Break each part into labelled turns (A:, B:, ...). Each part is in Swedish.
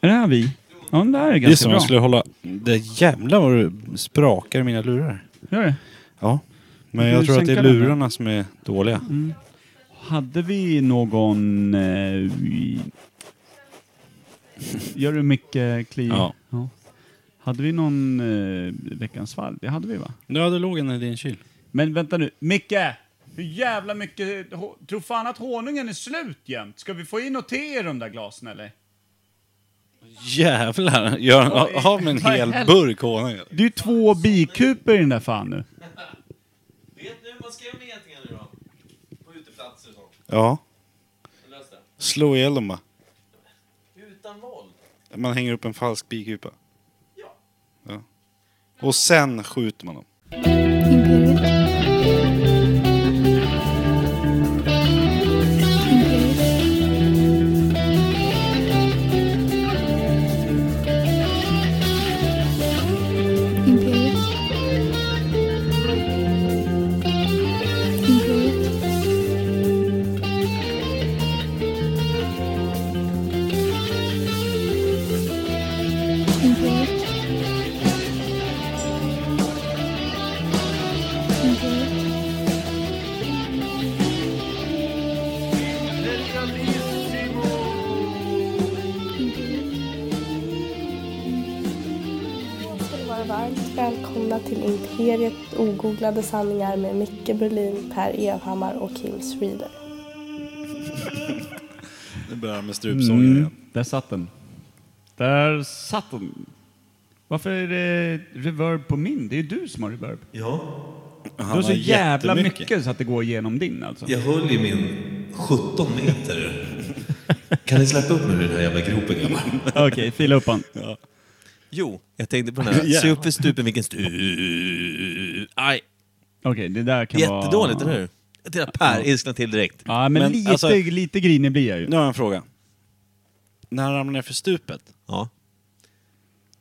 A: Är det här vi? Ja, den där är
B: Det är
A: ganska
B: som om
A: bra.
B: jag skulle hålla... Det jävlar vad du sprakar i mina lurar.
A: Gör det?
B: Ja. Men
A: Du
B: jag tror att det
A: sänka
B: är
A: den där.
B: lurarna som är dåliga.
A: Hade vi någon... Eh, i- Gör du mycket kli?
B: Ja.
A: Hade vi någon eh, veckans fall? Det hade vi va?
B: Ja, det låg en i din kyl.
A: Men vänta nu, Micke! Hur jävla mycket... hå- Tror fan att honungen är slut jämt. Ska vi få in något te i de där glasen eller?
B: Jävlar! Gör,
A: Oj.
B: ha med en
A: Vad i
B: hel
A: helvete?
B: burk honung.
A: Det är ju två bikuper i den där fan nu.
C: Vet ni hur man ska göra med getingar nu då? På uteplatser och sånt.
B: Ja.
C: Har ni löst det?
B: Slå ihjäl dem bara.
C: Utan våld.
B: Man hänger upp en falsk bikupa.
C: Ja.
B: Ja. Och sen skjuter man dem.
D: Imperiet. Imperiet. Imperiet. Imperiet. Imperiet. Imperiet.
E: ska ni vara varmt välkomna till Imperiet ogooglade sanningar med Micke Berlin, Per Evhammar och Kim Schreeder.
B: Nu börjar med strupsången igen.
A: Mm. Där satt den. Där satt den. Varför är det reverb på min? Det är ju du som har reverb.
B: Han
A: Du har så
B: har
A: jävla
B: jättemycket.
A: mycket så att det går igenom din alltså.
C: Jag höll i min 17 meter. Kan ni släppa upp mig ur den här jävla gropen grabbar?
A: Okej, fila upp han.
C: Jo, jag tänkte på den här. Se upp för stupen, vilken stu... Aj,
A: Okej, det där kan vara...
C: jättedåligt, eller hur? Jag tittar Per, ilsknade till direkt.
A: Ja, men,
B: Men,
A: lite,
B: alltså-
A: lite grinig blir jag ju.
B: Nu har jag en fråga. När han ramlar ner för stupet,
C: Ja.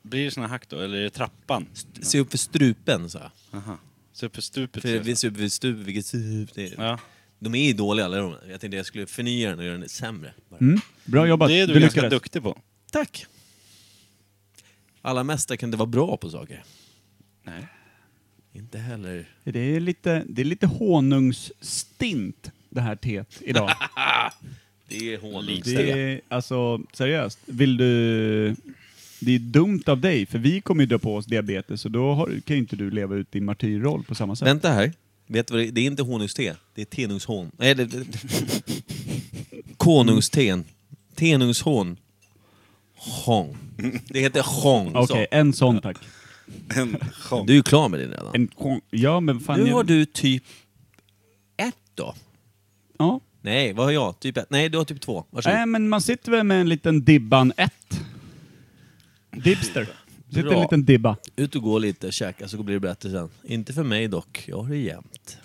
B: blir det såna hack då? Eller är det trappan?
C: Se upp för strupen, sa jag.
B: Aha. Så för stupet.
C: För vi ser upp för stupen, vilket stup det är.
B: Ja.
C: De är ju dåliga alla de. Jag tänkte jag skulle förnya den och göra den sämre. Bara.
A: Mm. Bra jobbat.
B: Det är du, ganska duktig på.
C: Tack! Alla mästare kan inte vara bra på saker.
B: Nej.
C: Inte heller...
A: Det är lite, det är lite honungsstint det här teet idag.
C: Det är honung.
A: Det
C: Det...
A: är, alltså, seriöst. Vill du... Det är dumt av dig, för vi kommer ju dra på oss diabetes och då har, kan ju inte du leva ut din martyrroll på samma sätt.
C: Vänta här. Vet du vad det är? Det är inte honungste. Det är tenungshon. Nej, det... det- Konungsten. Tenungshon. Hong. Det heter hong. så.
A: Okej, en sån tack.
B: En chans.
C: Du är ju klar med det redan.
A: En, ja, men fan...
C: Nu
A: jag-
C: har du typ ett då.
A: Ja.
C: Nej, vad har jag? Typ ett? Nej, du har typ två. Varsågod.
A: Nej, men man sitter väl med en liten Dibban 1. Dibster. Sitter
C: Bra.
A: en liten Dibba.
C: Ut och gå lite, käka, så blir det bättre sen. Inte för mig dock. Jag har det jämnt.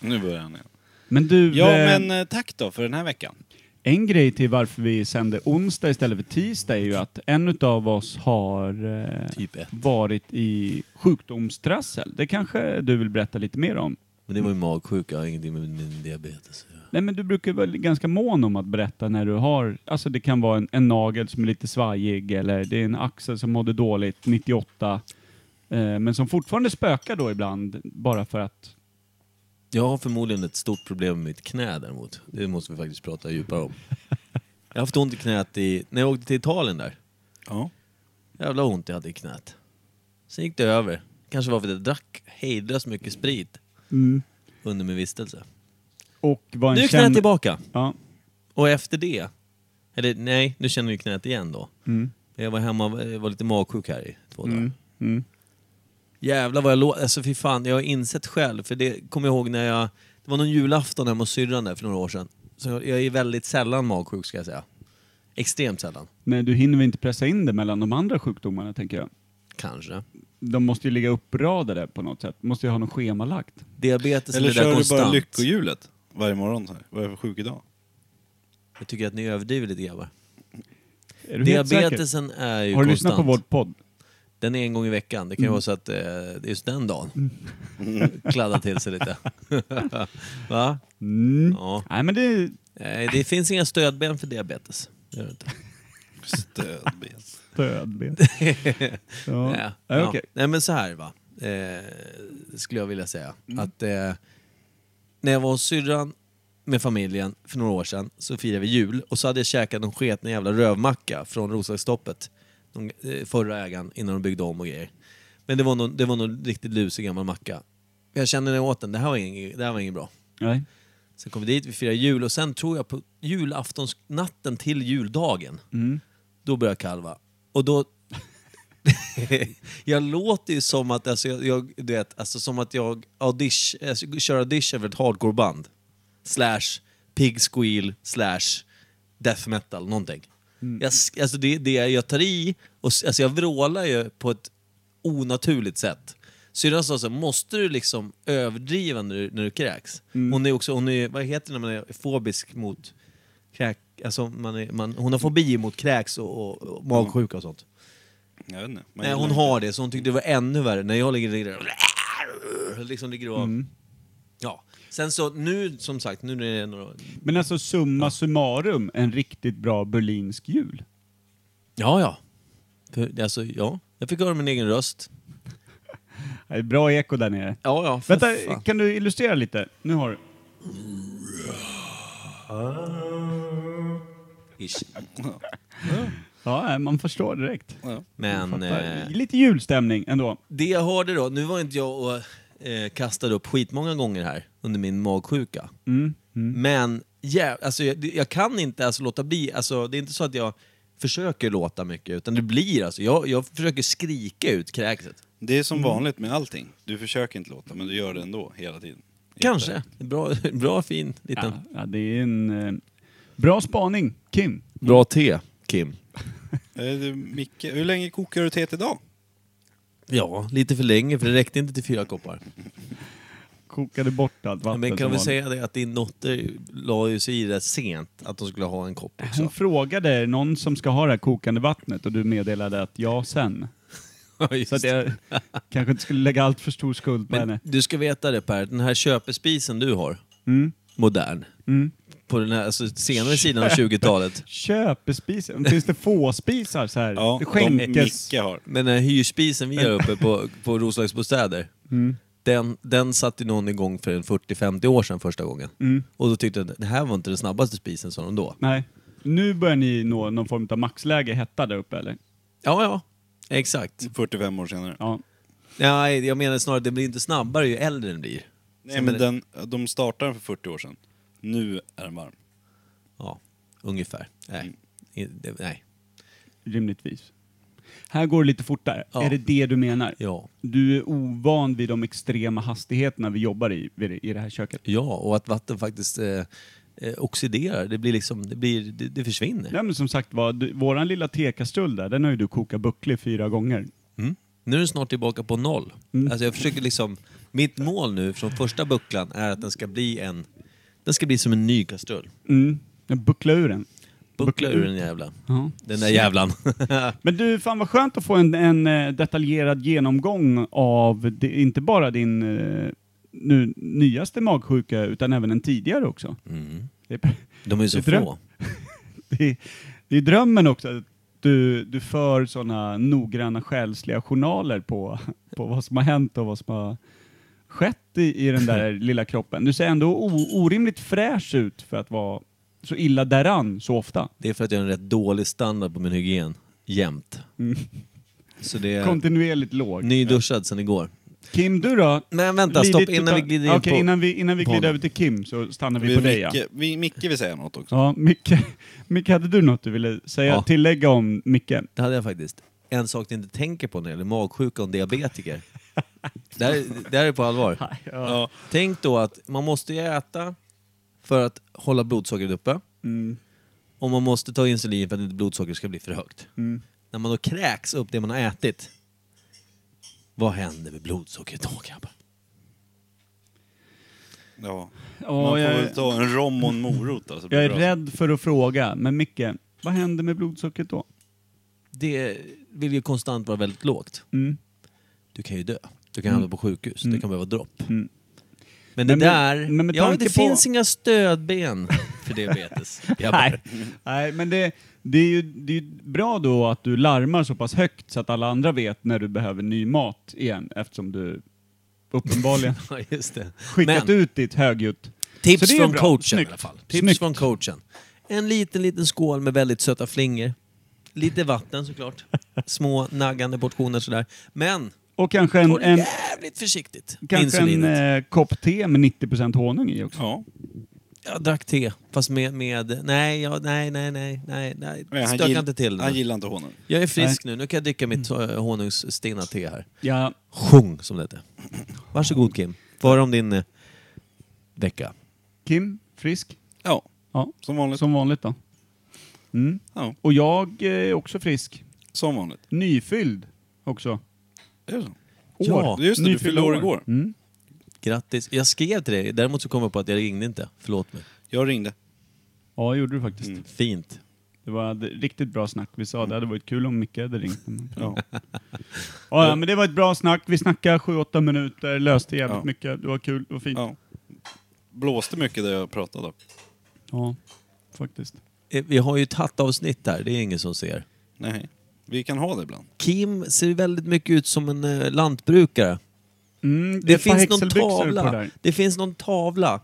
B: Nu börjar han igen.
A: Men du,
B: Ja,
A: eh,
B: men eh, tack då för den här veckan.
A: en grej till varför vi sänder onsdag istället för tisdag är ju att en utav oss har eh,
C: Typ ett.
A: varit i sjukdomstrassel. Det kanske du vill berätta lite mer om?
C: Men det var ju magsjuka, jag har ingenting med min diabetes att göra.
A: Nej, men du brukar vara ganska mån om att berätta när du har, alltså det kan vara en, en nagel som är lite svajig eller det är en axel som mådde dåligt 98, eh, men som fortfarande spökar då ibland bara för att,
C: Jag har förmodligen ett stort problem med mitt knä däremot. Det måste vi faktiskt prata djupare om. Jag har haft ont i knät i, när jag åkte till Italien där.
B: Ja.
C: Jävla ont jag hade i knät. Sen gick det över. Kanske var för att jag drack hejdlöst mycket sprit under min vistelse.
A: och var en
C: Mm. Nu är knät
A: känd-
C: tillbaka!
A: Ja,
C: Och efter det, eller nej, nu känner jag ju knät igen då. Jag var hemma, eh, var lite magsjuk här i två dagar.
A: mm.
C: Jävlar vad jag låg, alltså fy fan, jag har insett själv, för det kommer jag ihåg när jag, det var någon julafton hemma hos syrran där för några år sedan. Så jag, jag är väldigt sällan magsjuk ska jag säga. Extremt sällan,
A: nej du hinner väl inte pressa in det mellan de andra sjukdomarna tänker jag.
C: kanske.
A: De måste ju ligga uppradade på något sätt, måste ju ha något schemalagt.
C: Diabetes
B: Eller
C: är det där
B: kör du bara
C: konstant.
B: lyckohjulet varje morgon? Så här. Vad är det för sjuk idag?
C: jag tycker att ni överdriver lite grabbar.
A: Är du helt säker?
C: Diabetesen är ju
A: Har du
C: konstant.
A: lyssnat på vår podd?
C: Den är en gång i veckan. Det kan ju vara så att eh, det är just den dagen kladdar till sig lite. Va? Eh,
A: Mm.
C: Ja.
A: Nej men det,
C: Nej, det finns inga stödben för diabetes. Det gör det inte.
B: Stödben.
A: Stödben. Ja.
C: Ja.
A: Ja,
C: Ja.
A: okej.
C: Nej men så här va, eh, skulle jag vilja säga.
A: Mm.
C: Att eh, när jag var hos syrran med familjen för några år sedan så firade vi jul och så hade jag käkat en sketen jävla rövmacka från Roslagsstoppet. De, eh, förra ägaren innan de byggde om och grejer. Men det var någon, det var någon riktigt lusig gammal macka. Jag kände när jag åt den, det här var inget, det här var inget bra.
A: Nej.
C: Sen kom vi dit, vi firade jul och sen tror jag på julaftonsnatten till juldagen,
A: Mm.
C: då började jag kalva. Och då... jag låter ju som att, alltså, jag, jag, du vet, alltså, som att jag audition, alltså, kör audition för ett hardcoreband. Slash pig squeal, slash death metal, någonting. Jag, sk- alltså, det, det jag tar i, och, s- alltså, jag vrålar ju på ett onaturligt sätt. Syrran sa så här, måste du liksom överdriva när du, när du kräks? Hon är också, hon är, vad heter det när man är fobisk mot kräk, alltså man är, man, hon har fobi mot kräks och, och, och magsjuka och sånt.
B: Jag vet inte. man
C: Nej, hon
B: gillar
C: har det, så hon tyckte det var ännu värre. När jag ligger, ligger där, liksom ligger och... Ja. Sen så, nu som sagt, nu när det är några...
A: Men alltså summa summarum, en riktigt bra berlinsk jul.
C: Ja, ja. För, alltså, ja. Jag fick höra min egen röst.
A: Det är bra eko där nere.
C: Ja, ja. för
A: Vänta,
C: fan.
A: kan du illustrera lite? Nu har du.
C: Ish.
A: Ja, man förstår direkt.
B: det. Ja.
C: Men...
A: Fattar.
C: eh,
A: Lite julstämning ändå.
C: Det jag hörde då, nu var inte jag och eh, kastade upp skitmånga gånger här under min magsjuka.
A: Mm. Mm.
C: Men jä- alltså, jag, jag kan inte alltså, låta bli, alltså, det är inte så att jag försöker låta mycket, utan det blir alltså, jag, jag försöker skrika ut kräkset.
B: Det är som vanligt med allting. Du försöker inte låta, men du gör det ändå hela tiden.
C: Kanske. Bra, bra fin liten...
A: Ja, ja, det är en eh, bra spaning, Kim.
C: Bra te, Kim.
B: Eh, du, Micke, hur länge kokar du teet idag?
C: Ja, lite för länge, för det räckte inte till fyra koppar.
A: Kokade bort allt vatten
C: Men
A: som
C: kan vi
A: vanligt.
C: säga det att din dotter la ju sig i det sent, att de skulle ha en kopp
A: Hon
C: också.
A: frågade är det någon som ska ha det här kokande vattnet och du meddelade att ja, sen.
C: Ja, just
A: Så att
C: det.
A: jag kanske inte skulle lägga allt för stor skuld på
C: Men
A: henne.
C: du ska veta det Per, den här köpespisen du har,
A: Mm.
C: modern,
A: Mm.
C: på den här alltså, senare sidan av 20-talet.
A: Köpespisen? Finns det fåspisar så här? det skänkes?
B: Micke har.
C: Men den här hyrspisen vi har uppe på, på Roslagsbostäder, den, den satte någon igång för en 40-50 år sedan första gången. Och då tyckte jag att det här var inte den snabbaste spisen, sa de då.
A: Nej. Nu börjar ni nå någon form av maxläge hetta där uppe eller?
C: Ja, ja, Mm. exakt.
B: 45 år senare.
A: Ja.
C: Nej, jag menar snarare att det blir inte snabbare ju äldre den blir.
B: Nej,
C: Sen
B: men
C: är det-
B: den, de startade den för 40 år sedan. Nu är den varm.
C: Ja, ungefär. Nej. I- det- Nej.
A: Rimligtvis. Här går det lite fortare.
C: Ja.
A: Är det det du menar?
C: Ja.
A: Du är ovan vid de extrema hastigheterna vi jobbar i, vid det- i det här köket.
C: ja, och att vatten faktiskt eh, eh, oxiderar. Det blir liksom, det, blir, det, det försvinner.
A: Nej men som sagt var, du- våran lilla tekastrull där, den har ju du kokat bucklig fyra gånger.
C: Mm. Nu är den snart tillbaka på noll.
A: Mm.
C: Alltså jag försöker liksom, mitt mål nu från första bucklan är att den ska bli en den ska bli som en ny kastrull.
A: Mm. Jag bucklade ur den.
C: Buckla ur den jävla.
A: Ja.
C: Den där jävlan.
A: Men du, fan vad skönt att få en, en eh, detaljerad genomgång av det, inte bara din eh, nu, nyaste magsjuka, utan även en tidigare också.
C: Mm.
A: Det är,
C: De är ju så
A: Det är
C: få.
A: det är, det är drömmen också, att du, du för sådana noggranna själsliga journaler på, på vad som har hänt och vad som har skett i, i den där lilla kroppen. Du ser ändå o, orimligt fräsch ut för att vara så illa däran så ofta.
C: Det är för att jag har en rätt dålig standard på min hygien. Jämt.
A: Mm.
C: Så det är
A: Kontinuerligt låg.
C: nyduschad sen igår.
A: Kim, du då?
C: Men vänta,
A: Lidit
C: stopp innan
A: utav-
C: vi glider in
A: Okej,
C: på...
A: innan vi, innan vi
C: på
A: glider
C: honom.
A: över till Kim så stannar vi på dig. Ja,
B: Micke, vi, Micke vill säga något också.
A: ja Micke, Micke, hade du något du ville säga,
C: Ja.
A: tillägga om Micke?
C: Det hade jag faktiskt. En sak ni inte tänker på när det gäller magsjuka och diabetiker. det, här, det här är på allvar.
B: Ja.
C: Tänk då att man måste ju äta för att hålla blodsockret uppe. Och man måste ta insulin för att inte blodsockret ska bli för högt. När man då kräks upp det man har ätit, vad händer med blodsockret då grabbar?
B: Ja.
A: Ja,
B: Man får
A: jag-
B: väl ta en rom och en morot då, så blir
A: Jag är
B: det bra.
A: rädd för att fråga, men Micke, vad händer med blodsockret då?
C: Det vill ju konstant vara väldigt lågt.
A: Mm.
C: Du kan ju dö. Du kan hamna på sjukhus. Det kan behöva dropp.
A: Mm.
C: Men det
A: Men med-
C: där...
A: men med
C: ja,
A: tanke
C: det
A: på-
C: finns inga stödben. för diabetes.
A: Nej. Nej, men det, det, är ju, det är ju bra då att du larmar så pass högt så att alla andra vet när du behöver ny mat igen eftersom du uppenbarligen
C: Ja, just det.
A: skickat
C: Men,
A: ut ditt högljutt. Så
C: tips
A: det är
C: från
A: bra.
C: coachen i
A: Snyggt.
C: alla fall. Tips
A: Snyggt.
C: från coachen. En liten, liten skål med väldigt söta flingor. Lite vatten såklart. Små naggande portioner sådär. Men,
A: Och kanske en,
C: ta det
A: en,
C: jävligt försiktigt.
A: kanske en
C: Insulinet.
A: eh, kopp te med 90% honung i också.
B: Ja.
C: Jag drack te, fast med... med nej, ja, nej, nej, nej, nej, nej.
B: Men han
C: Stöka
B: gill-
C: inte till
B: Han
C: nu.
B: gillar inte honom.
C: Jag är frisk nu. Nu kan jag dricka mitt
A: Mm.
C: eh, honungsstinna te här.
A: Ja,
C: Sjung, som det heter. Varsågod Kim. Var om din eh, vecka.
A: Kim, frisk?
B: Ja,
A: Ja,
B: som vanligt.
A: som vanligt då. Mm.
B: Ja,
A: Och jag eh, är också frisk.
B: som vanligt.
A: Nyfylld också.
B: Är det så?
C: Ja,
B: Just det, du
A: Nyfyllda
B: fyllde år igår.
A: Mm.
C: Grattis. Jag skrev till dig, däremot så kom jag på att jag ringde inte. Förlåt mig.
B: Jag ringde.
A: Mm. Ja, det gjorde du faktiskt.
B: Mm.
C: Fint.
A: Det var ett riktigt bra snack. Vi sa det hade varit kul om Micke hade ringt. Men-
B: Ja.
A: Ja, ja, men det var ett bra snack. Vi snackade 7-8 minuter, löste jävligt
B: Ja.
A: mycket. Det var kul, det var fint. Ja,
B: ja. Blåste mycket där jag pratade.
A: faktiskt.
C: Eh, Vi har ju ett hattavsnitt här, det är ingen som ser.
B: Nej. Vi kan ha det ibland.
C: Kim ser väldigt mycket ut som en eh, lantbrukare.
A: Mm,
C: Det,
A: är ett par
C: finns någon
A: häxelbyxor
C: tavla.
A: på det där.
C: det finns någon tavla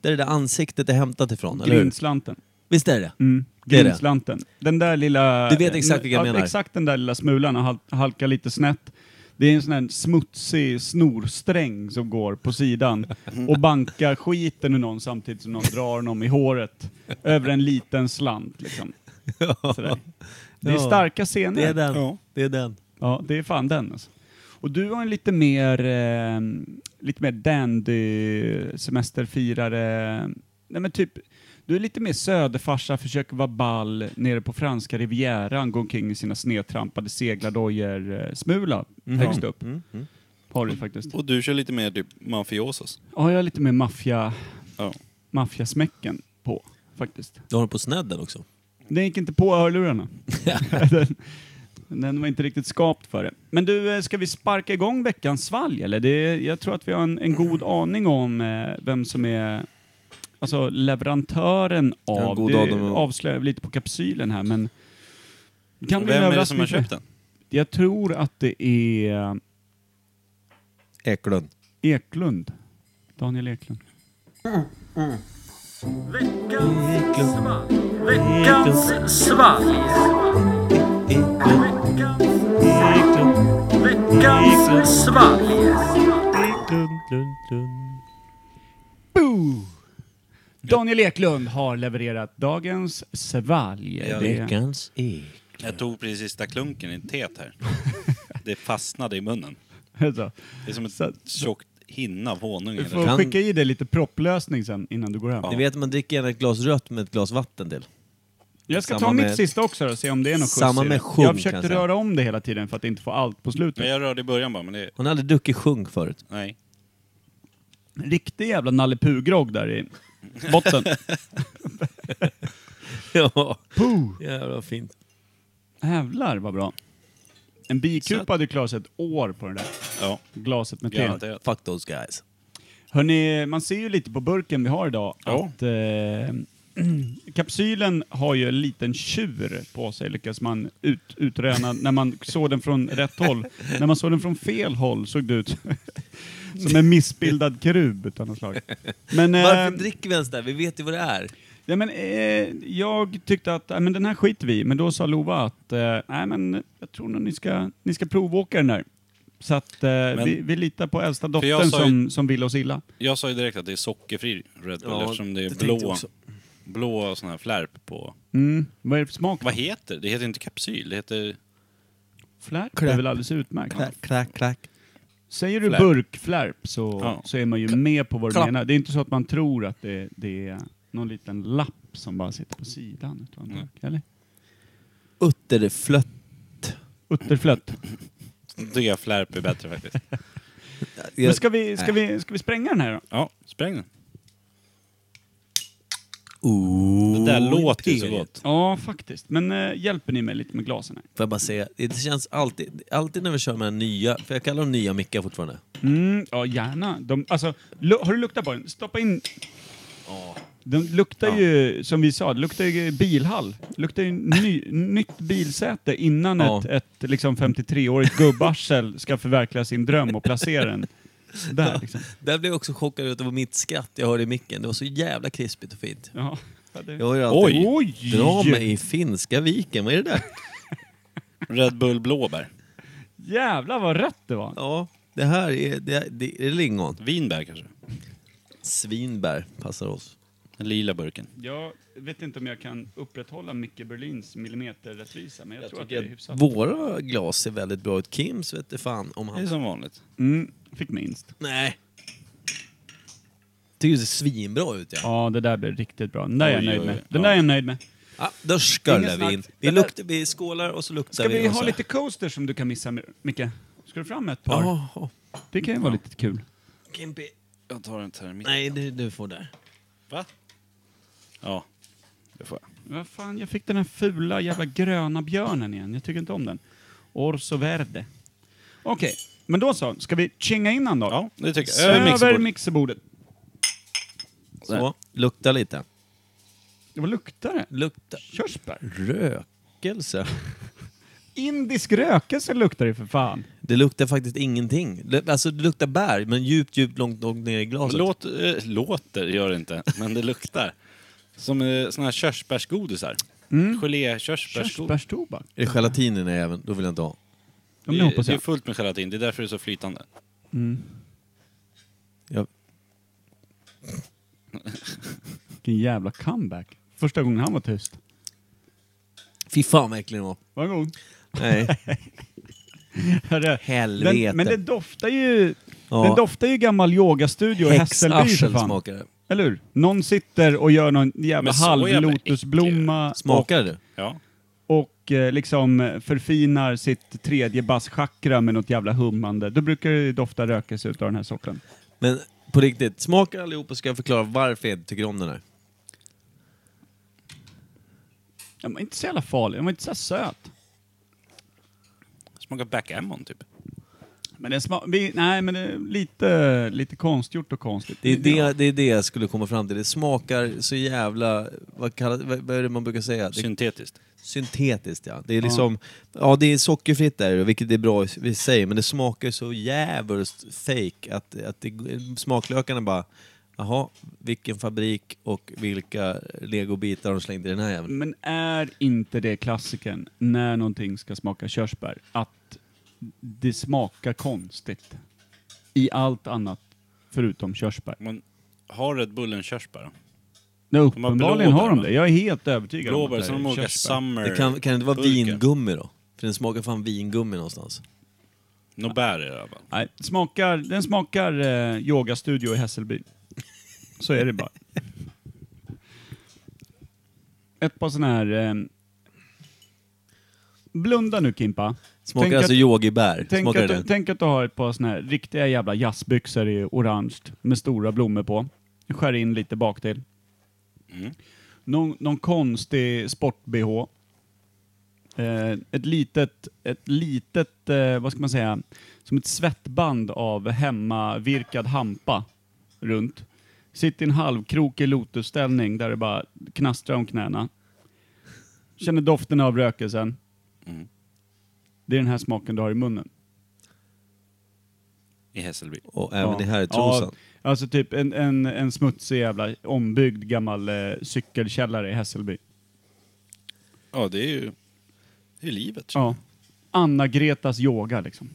C: där det där ansiktet är hämtat ifrån, eller hur?
A: Grinslanten.
C: Visst är det
A: Mm.
C: Det är det.
A: Grinslanten. Den där lilla...
C: Du vet exakt vilka jag
A: ja,
C: menar.
A: Exakt den där lilla smulan har hal- halkat lite snett. Det är en sån här smutsig snorsträng som går på sidan och bankar skiten ur någon samtidigt som någon drar någon i håret över en liten slant liksom. Sådär. Det är
C: Ja.
A: starka scener.
C: Det är den.
B: Ja.
C: Det är den.
A: Ja, det är fan den alltså. Och du har en lite mer, eh, lite mer dandy semesterfirare. Nej men typ, du är lite mer söderfarsa, försöker vara ball nere på franska rivieran, går omkring i sina snedtrampade seglardojor, eh, smula högst upp.
C: Mm, mm.
A: Har du faktiskt.
B: Och du kör lite mer typ mafiosos.
A: Ja, jag är lite mer maffia,
B: Ja.
A: maffiasmäcken på faktiskt.
C: Du har den på snedden också.
A: Den gick inte på hörlurarna. den, den var inte riktigt skapt för det. Men du, eh, ska vi sparka igång veckans svalg eller? Det, jag tror att vi har en, en god aning om eh, vem som är alltså, leverantören
C: har en
A: av...
C: god
A: det
C: aning om-
A: avslöjar vi lite på kapsylen här men... Kan bli en
B: Vem är det som
A: överraskning
B: har
A: för-
B: köpt den?
A: Jag tror att det är
C: Eklund.
A: Eklund. Daniel Eklund.
C: Veckans svalg.
A: Boo! Daniel Eklund har levererat dagens svalg. Det-
C: Veckans ek.
B: Jag tog precis sista klunken i teet här. Det fastnade i munnen.
A: Alltså,
B: Det är som
A: Så-
B: ett tjockt hinna av honung.
A: Du
B: eller-
A: får
C: Kan-
A: skicka i dig lite propplösning sen innan du går hem.
C: Ni vet man dricker gärna ett glas rött med ett glas vatten till.
A: Jag ska
C: Samma
A: ta
C: med-
A: mitt sista också då, och se om det är något skjuts
C: Samma
A: i
C: med
A: det.
C: sjung,
A: Jag
C: kan
A: försökte
C: jag säga.
A: röra om det hela tiden för att inte få allt på
B: Men
A: slutet.
B: jag rörde i början bara, men det...
C: Hon har aldrig druckit sjung förut.
B: Nej.
A: Riktig jävla Nalle grogg där i botten.
C: Ja,
A: Puh.
C: jävlar vad fint.
A: Jävlar vad bra. En bikupa hade klarat sig ett år på det där
B: Ja,
A: glaset med te.
B: garanterat.
C: Fuck those
A: Ehm.
C: guys.
A: Hörni, man ser ju lite på burken vi har idag
B: Ja.
A: att eh, kapsylen har ju en liten tjur på sig, lyckas man ut, utröna när man såg den från rätt håll. När man såg den från fel håll såg det ut som en missbildad kerub utan något slag. Men, eh,
C: Varför dricker vi ens där? Vi vet ju vad det är.
A: ja, men, eh, jag tyckte att äh, men den här skiter vi i, men då sa Lova att eh, nej, men jag tror nog ni ska, ni ska provåka den där. Så att eh, vi, vi litar på äldsta
B: jag
A: dottern
B: sa ju-
A: som, som vill oss illa.
B: Jag sa ju direkt att det är sockerfri Red Bull
C: Ja,
B: eftersom det är
C: det tänkte jag
B: blå,
C: också.
B: blå sån här flärp på...
A: Mm. Vad är det för smak?
B: Vad heter det? Det heter inte kapsyl, det heter...
A: Flärp
C: Clap.
A: är väl alldeles utmärkt?
C: klack, klack.
A: Säger du
B: Flärp.
A: burkflärp så,
B: Ja.
A: så är man ju med på vad du
C: Klapp.
A: menar. Det är inte så att man tror att det, det är någon liten lapp som bara sitter på sidan utav en
B: Mm.
A: burk, eller?
C: Utterflött.
A: Utterflött.
B: Det flärp är bättre faktiskt.
A: Men ska vi, ska, vi, ska vi spränga den här då?
B: Ja, spräng den.
C: Ooh,
B: Det där låter ju så gott.
A: Ja, faktiskt. Men eh, hjälper ni mig lite med glasen här?
C: Får jag bara säga, det känns alltid, alltid när vi kör med den nya, för jag kallar dem nya mickar fortfarande.
A: Mm, ja, gärna. De, alltså, lu- har du luktat på den? Stoppa in... Den luktar
B: Ja.
A: ju, som vi sa, det luktar ju bilhall. luktar ju ny, nytt bilsäte innan
C: Ja.
A: ett, ett liksom 53-årigt gubbarsel ska förverkliga sin dröm och placera den där. Liksom.
C: Där blev jag också chockad över mitt skratt jag hörde i micken. Det var så jävla krispigt och fint.
A: Ja.
C: Jag har ju alltid
B: Oj!
A: Oj!
C: drama i Finska viken. Vad är det där?
B: Red Bull blåbär.
A: Jävlar vad rätt det var!
C: Ja, det här är, det, det är lingon.
B: Vinbär kanske?
C: Svinbär passar oss.
B: Den lila burken.
A: Jag vet inte om jag kan upprätthålla Micke Berlins millimeterrättvisa, men jag, tror att det är hyfsat.
C: Våra glas ser väldigt bra ut. Kims vet du fan om
B: Det är
C: han...
B: som vanligt.
A: Mm, fick minst.
C: Nej. Tycker det ser svinbra ut ja.
A: Ja, det där blev riktigt bra. Den där är jag
B: Oj,
A: nöjd
B: oj,
A: med.
B: oj.
A: Den där är jag nöjd med.
C: ja Ah, då sköllar
A: Ingen
C: vi in.
A: snack.
C: Vi,
A: Det där-
C: luktar, vi skålar och så luktar
A: Ska
C: vi.
A: vi
C: och
A: ha
C: så-
A: lite coasters som du kan missa, Micke? Ska du fram ett par?
C: Jaha.
A: Det kan ju vara lite kul.
C: Kimpi.
B: Jag tar en termit.
C: Nej, du, du får där.
B: Va? Ja, det får jag.
A: Vad fan, jag fick den här fula jävla gröna björnen igen. Jag tycker inte om den. Orso Verde. Okej, men då så. Ska vi tjinga in han då?
B: Ja, det tycker jag. Över
A: Över
B: mixerbordet.
A: mixerbordet.
B: Där.
C: Så, lukta lite.
A: Ja, Vad luktar det?
C: Lukta.
A: Körsbär?
C: Rökelse.
A: Indisk rökelse luktar det för fan.
C: Det luktar faktiskt ingenting. Lu- Alltså det luktar bär, men djupt, djupt, långt, långt ner i glaset.
B: Låt, eh, låter gör det inte, men det luktar. Som eh, såna här körsbärsgodisar.
C: Mm.
B: Gelé-körsbärsgodis.
A: Körsbärstobak?
C: Är det gelatinen i även? Då vill jag inte ha.
A: Ja, men
B: Det,
A: det
B: är-
A: hoppas
B: det är
A: jag.
B: fullt med gelatin, det är därför det är så flytande.
C: Jag...
A: Vilken jävla comeback. Första gången han var tyst.
C: Fy fan vad äcklig den var.
A: Varsågod.
C: Nej.
A: Herre.
C: Helvete.
A: Den, men det doftar ju...
C: Ja.
A: Den doftar ju gammal yogastudio i Hässelby för
C: Häxarsel
A: fan.
C: smakar det.
A: Eller hur? Någon sitter och gör någon jävla
B: Men så jävla
A: halvlotusblomma
C: Smakar det?
B: Ja.
A: och eh, liksom eh, förfinar sitt tredje basschakra med något jävla hummande. Då brukar det ju dofta rökelse utav den här sorten.
C: Men på riktigt, smakar allihop och ska jag förklara varför jag inte tycker om den här.
A: Den var inte så jävla farlig, den var inte så här söt.
B: Smakar backgammon typ.
A: Men den sma- vi, nej, men det är lite, lite konstgjort och konstigt.
C: Det är det, det är det jag skulle komma fram till. Det smakar så jävla... Vad, kallar, vad, vad är det man brukar säga? Det,
B: Syntetiskt.
C: syntetiskt ja. Det är liksom... Ja, det är sockerfritt där, vilket är bra i sig, men det smakar så jävligt fake att, att det, smaklökarna bara... Jaha, vilken fabrik och vilka legobitar de slängde i den här jäveln.
A: Men är inte det klassiken när någonting ska smaka körsbär? Att det smakar konstigt. I allt annat förutom körsbär.
B: Man har Red Bull en körsbär?
A: Nej, uppenbarligen har de
B: blåbär,
A: det. Jag är helt övertygad
B: Blåbär
A: om att det
B: som de
A: är
B: olika
A: körsbär.
B: summer...
C: Det kan, kan det inte vara
B: burken.
C: vingummi då? För den smakar fan vingummi någonstans.
B: Något bär i det i alla fall.
A: Nej, smakar, den smakar eh, yogastudio i Hässelby. Så är det bara. Ett par sådana här... Eh, blunda nu Kimpa.
C: Smakar
A: Tänk
C: alltså
A: att-
C: yogibär.
A: Tänk
C: Smakar
A: att,
C: det
A: du,
C: den?
A: tänk att du har ett par såna här riktiga jävla jazzbyxor i orange med stora blommor på. Skär in lite bak till. Någon, någon konstig sport-bh. Eh, ett litet, ett litet eh, vad ska man säga, som ett svettband av hemmavirkad hampa runt. Sitt i en halvkrok i lotusställning där det bara knastrar om knäna. Känner doften av rökelsen.
B: Mm.
A: Det är den här smaken du har i munnen.
B: I Hässelby.
C: Och även
A: Ja.
C: i herrtrosan.
A: Ja, alltså typ en, en, en smutsig jävla ombyggd gammal eh, cykelkällare i Hässelby.
B: Ja, det är ju... Det är livet. Ja.
A: Ja. Anna-Gretas yoga liksom.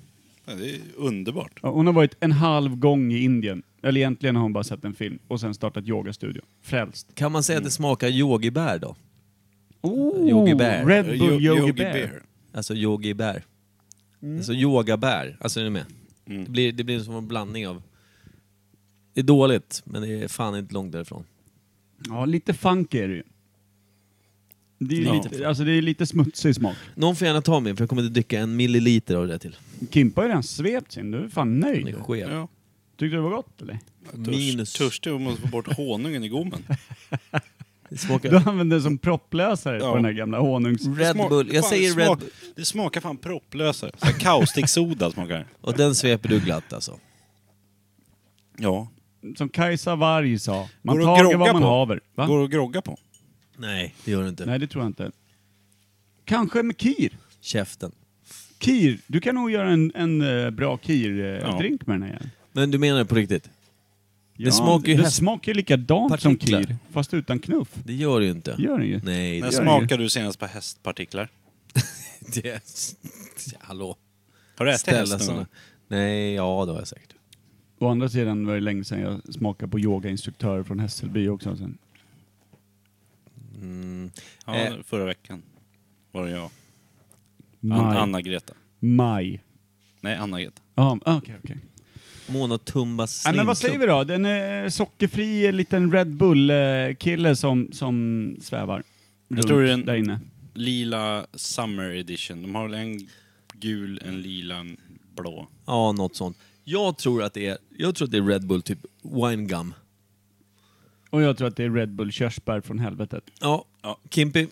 B: Det är underbart.
A: Ja, hon har varit en halv gång i Indien. Eller egentligen har hon bara sett en film och sen startat yogastudio. Frälst.
C: Kan man säga
A: Mm.
C: att det smakar yogibär då?
A: Oh,
C: Yogi Bear.
A: Red Bull Yogi,
B: Yo-
A: Bear.
C: Alltså yogibär.
A: Mm.
C: Alltså yogabär. Alltså är ni med? Det, blir, det blir som en blandning av... Det är dåligt, men det är fan inte långt därifrån.
A: Ja, lite funk är det ju. Det är,
B: Ja.
A: lite, alltså det är lite smutsig smak.
C: Någon får gärna ta min, för jag kommer inte dricka en milliliter av det där till.
A: Kimpa har ju redan svept sin. Du är fan
C: Den är
A: nöjd.
C: skev.
B: Ja.
A: Tyckte du det var gott eller?
C: Minus.
B: Törst, törstig och måste få bort honungen i gommen.
C: Det
A: Du
C: smakar...
A: använde den som propplösare på
B: Ja.
A: den här gamla honungs...
C: Red
B: Smak-
C: Bull. Jag
B: fan,
C: säger
B: smak-
C: Red Bull.
B: Det smakar fan propplösare. Så här Kaustiksoda smakar det.
C: Och den sveper du glatt alltså.
B: Ja.
A: som Kajsa Warg sa, man
B: Går det att
A: tager
B: grogga
A: vad man
B: på?
A: haver. Va?
B: Går att grogga på.
C: Nej, det gör det inte.
A: Nej, det tror jag inte. Kanske med kir.
C: Käften.
A: Kir, du kan nog göra en, en eh, bra
B: Ja.
A: kir-drink med den här.
C: Men du menar det på riktigt?
A: Ja,
C: smakar ju
A: det
C: häst-
A: smakar ju likadant som
C: partiklar.
A: kir, fast utan knuff.
C: Det gör det ju inte.
A: Gör den ju.
C: Nej,
B: När
C: det,
A: gör
B: smakade du senast på hästpartiklar?
C: det... Hallå.
B: Har du ätit häst
C: Ställa
B: någon gång?
C: sådana. Nej, ja det har jag säkert.
A: Å andra sidan var det länge sedan jag smakade på yogainstruktörer från Hässelby också. Sen.
C: Mm.
B: Ja,
C: Eh.
B: förra veckan var det jag. An-
A: Maj.
B: Anna-Greta.
A: Maj.
B: Nej, Anna-Greta.
A: Ja, ah, okej, okej.
C: Mona Tumbas
A: Ja, men vad säger
C: slimklubb.
A: vi då? Den är sockerfri eh, liten Red Bull-kille som, som svävar runt
B: tror det är en-
A: där inne.
B: Lila Summer Edition. De har väl en gul, en lila, en blå.
C: Ja, något sånt. Jag tror att det är, jag tror att det är Red Bull, typ winegum.
A: Och jag tror att det är Red Bull körsbär från helvetet.
C: Ja,
B: Ja.
C: Kimpi.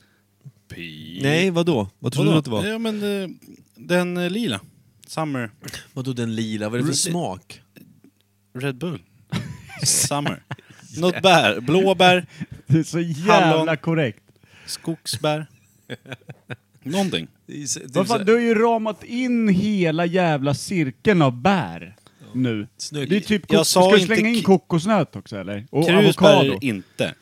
B: Pi.
C: Nej, vadå? Vad trodde du att det var?
B: Ja, men eh, den eh, lila. Summer
C: Vadå den lila? Vad är det för
B: Red-
C: smak?
B: Red Bull. Summer. Något bär. Blåbär,
A: Det är så jävla
B: Hallon.
A: korrekt.
B: skogsbär. Någonting.
C: Det är så- det är
A: Vad
C: så
A: fan,
C: här-
A: du har ju ramat in hela jävla cirkeln av bär nu.
C: Snygg.
A: Det är typ
B: Jag
A: kok-
B: sa
A: Ska du
B: inte
A: slänga in
B: ki-
A: kokosnöt också eller? Och avokado.
B: Krusbär inte.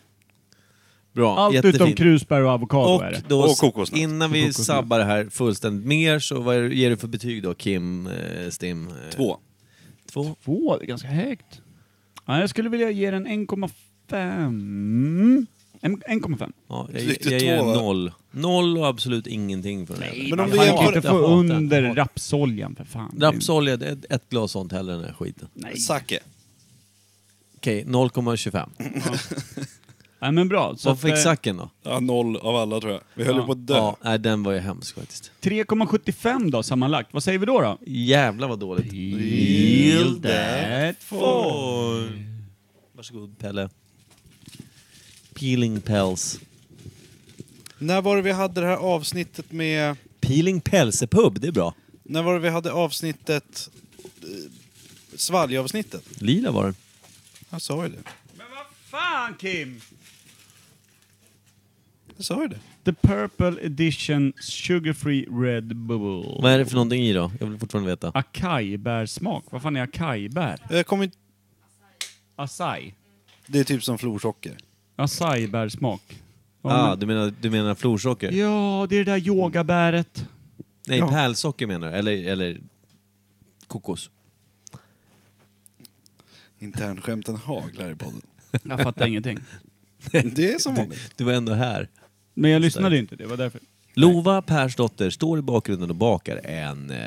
C: Bra,
A: Allt
C: jättefint.
A: utom krusbär och avokado
C: Och
A: är det.
C: då,
B: Och kokosnöt.
C: innan vi
A: kokosnöt.
C: sabbar det här fullständigt mer så vad är- ger du för betyg då, Kim eh, Stim? eh,
B: Två.
C: Två?
A: Två, det är ganska högt. Ja, jag skulle vilja ge den 1,5. En- 1,5.
C: Ja, jag,
B: Tyckte
C: jag ger
B: två, va?
C: noll. Noll och absolut ingenting för den här.
B: Men om du
A: Man kan
B: jämför
A: inte få under rapsoljan för fan.
C: Rapsolja, det är ett, ett glas sånt hellre än den här skiten.
A: Nej.
B: Sake.
C: Okej, 0,25.
A: Nej men bra. Mm. Så
C: Vad
A: att, eh,
C: fick Sacken då?
B: Ja, noll av alla tror jag. Vi höll
A: Ja.
B: ju på att dö.
C: Ja, nej, den var ju hemsk faktiskt.
A: 3,75 då sammanlagt. Vad säger vi då då?
C: Jävlar vad dåligt.
A: Feel that
C: Oj. Varsågod Pelle. Peeling Pels.
B: När var det vi hade det här avsnittet med...
C: Peeling Pälsepub, det är bra.
B: När var det vi hade avsnittet... eh, Svalgavsnittet?
C: Lila var den.
B: Jag sa ju det.
A: Men vad fan Kim!
B: Jag sa ju det.
A: The Purple Edition Sugar Free Red Bubble.
C: Vad är det för någonting i då? Jag vill fortfarande veta.
A: Acai-bärsmak. Vad fan är acai-bär?
B: Jag kommer inte...
A: Acai.
B: Eh, Det är typ som florsocker.
A: Acai-bärsmak. Ja,
C: Ah,
A: men-
C: du menar, du menar florsocker?
A: Ja, det är det där yogabäret.
C: Nej,
B: Ja.
C: pärlsocker menar du? Eller, eller kokos?
B: Internskämten haglar i podden.
A: Jag fattar ingenting.
B: Det är som vanligt.
C: Du var ändå här.
A: Men jag lyssnade inte, det var därför.
C: Lova Persdotter står i bakgrunden och bakar en eh,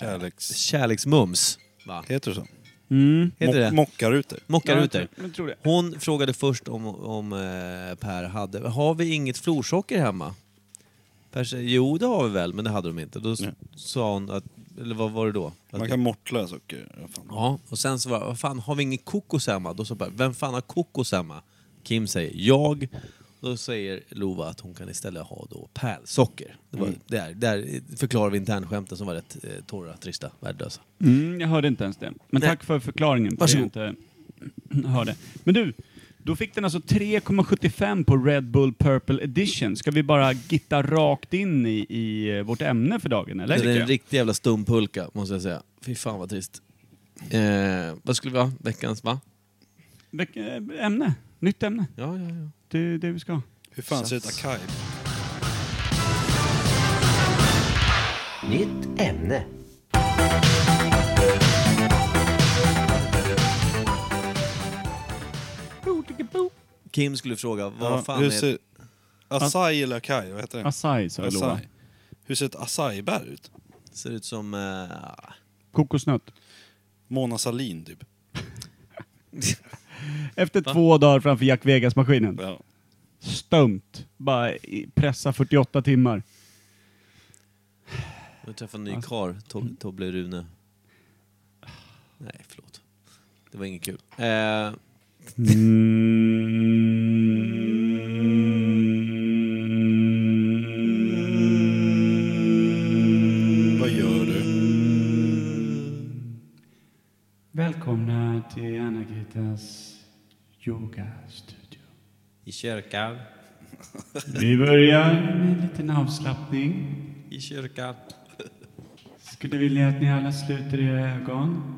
B: Kärleks...
C: kärleksmums. Va?
B: Heter det så?
A: Mm.
C: Heter det?
B: Mo- Mockarutor.
C: Mockarutor.
A: Men tror det.
C: Hon frågade först om, om eh, Per hade... Har vi inget florsocker hemma? Per säger, jo det har vi väl, men det hade de inte. Då s-
B: Nej.
C: sa hon att... Eller vad var det då? Att
B: Man kan mortla socker. Vad fan.
C: Ja, och sen så var vad fan har vi ingen kokos hemma? Då sa Per, vem fan har kokos hemma? Kim säger jag. Då säger Lova att hon kan istället ha då pärlsocker. Det
B: Mm.
C: var, där, där förklarar vi internskämten som var rätt eh, torra, trista, värdelösa.
A: Mm, jag hörde inte ens det. Men
C: Nej.
A: tack för förklaringen. för
C: Varsågod.
A: Jag inte hörde. Men du, då fick den alltså 3,75 på Red Bull Purple Edition. Ska vi bara gitta rakt in i, i eh, vårt ämne för dagen, eller?
C: Det är en
A: Tycker jag.
C: riktig jävla stumpulka, måste jag säga. Fy fan vad trist. Eh, vad skulle vi ha? Veckans, va?
A: Vilk- eh, Ämne. Nytt ämne.
C: Ja, ja, ja.
A: Det är det vi ska ha.
B: Hur fan ser ett acai?
F: Nytt ämne.
C: Kim skulle fråga, vad
B: Ja,
C: fan
B: hur
C: är...
B: ser... Acai eller acai? Vad heter det?
A: Acai, sa jag Lova.
B: Acai. Hur ser ett acai-bär ut?
C: Ser ut som... Eh,
A: Kokosnöt.
B: Mona Sahlin typ.
A: Efter två dagar framför Jack Vegas-maskinen.
B: Ja.
A: Stumt. Bara i- pressa 48 timmar.
C: Jag träffade en ny
A: Alltså-
C: karl,
B: Mm.
C: Tob- Tobbe Rune. Nej, förlåt. Det var inget kul. Eh,
B: Vad gör du?
A: Välkomna till Anna-Gritas yogastudio.
C: I kyrkan.
A: Vi börjar med en liten avslappning.
C: I kyrkan.
A: Skulle vilja att ni alla sluter era ögon.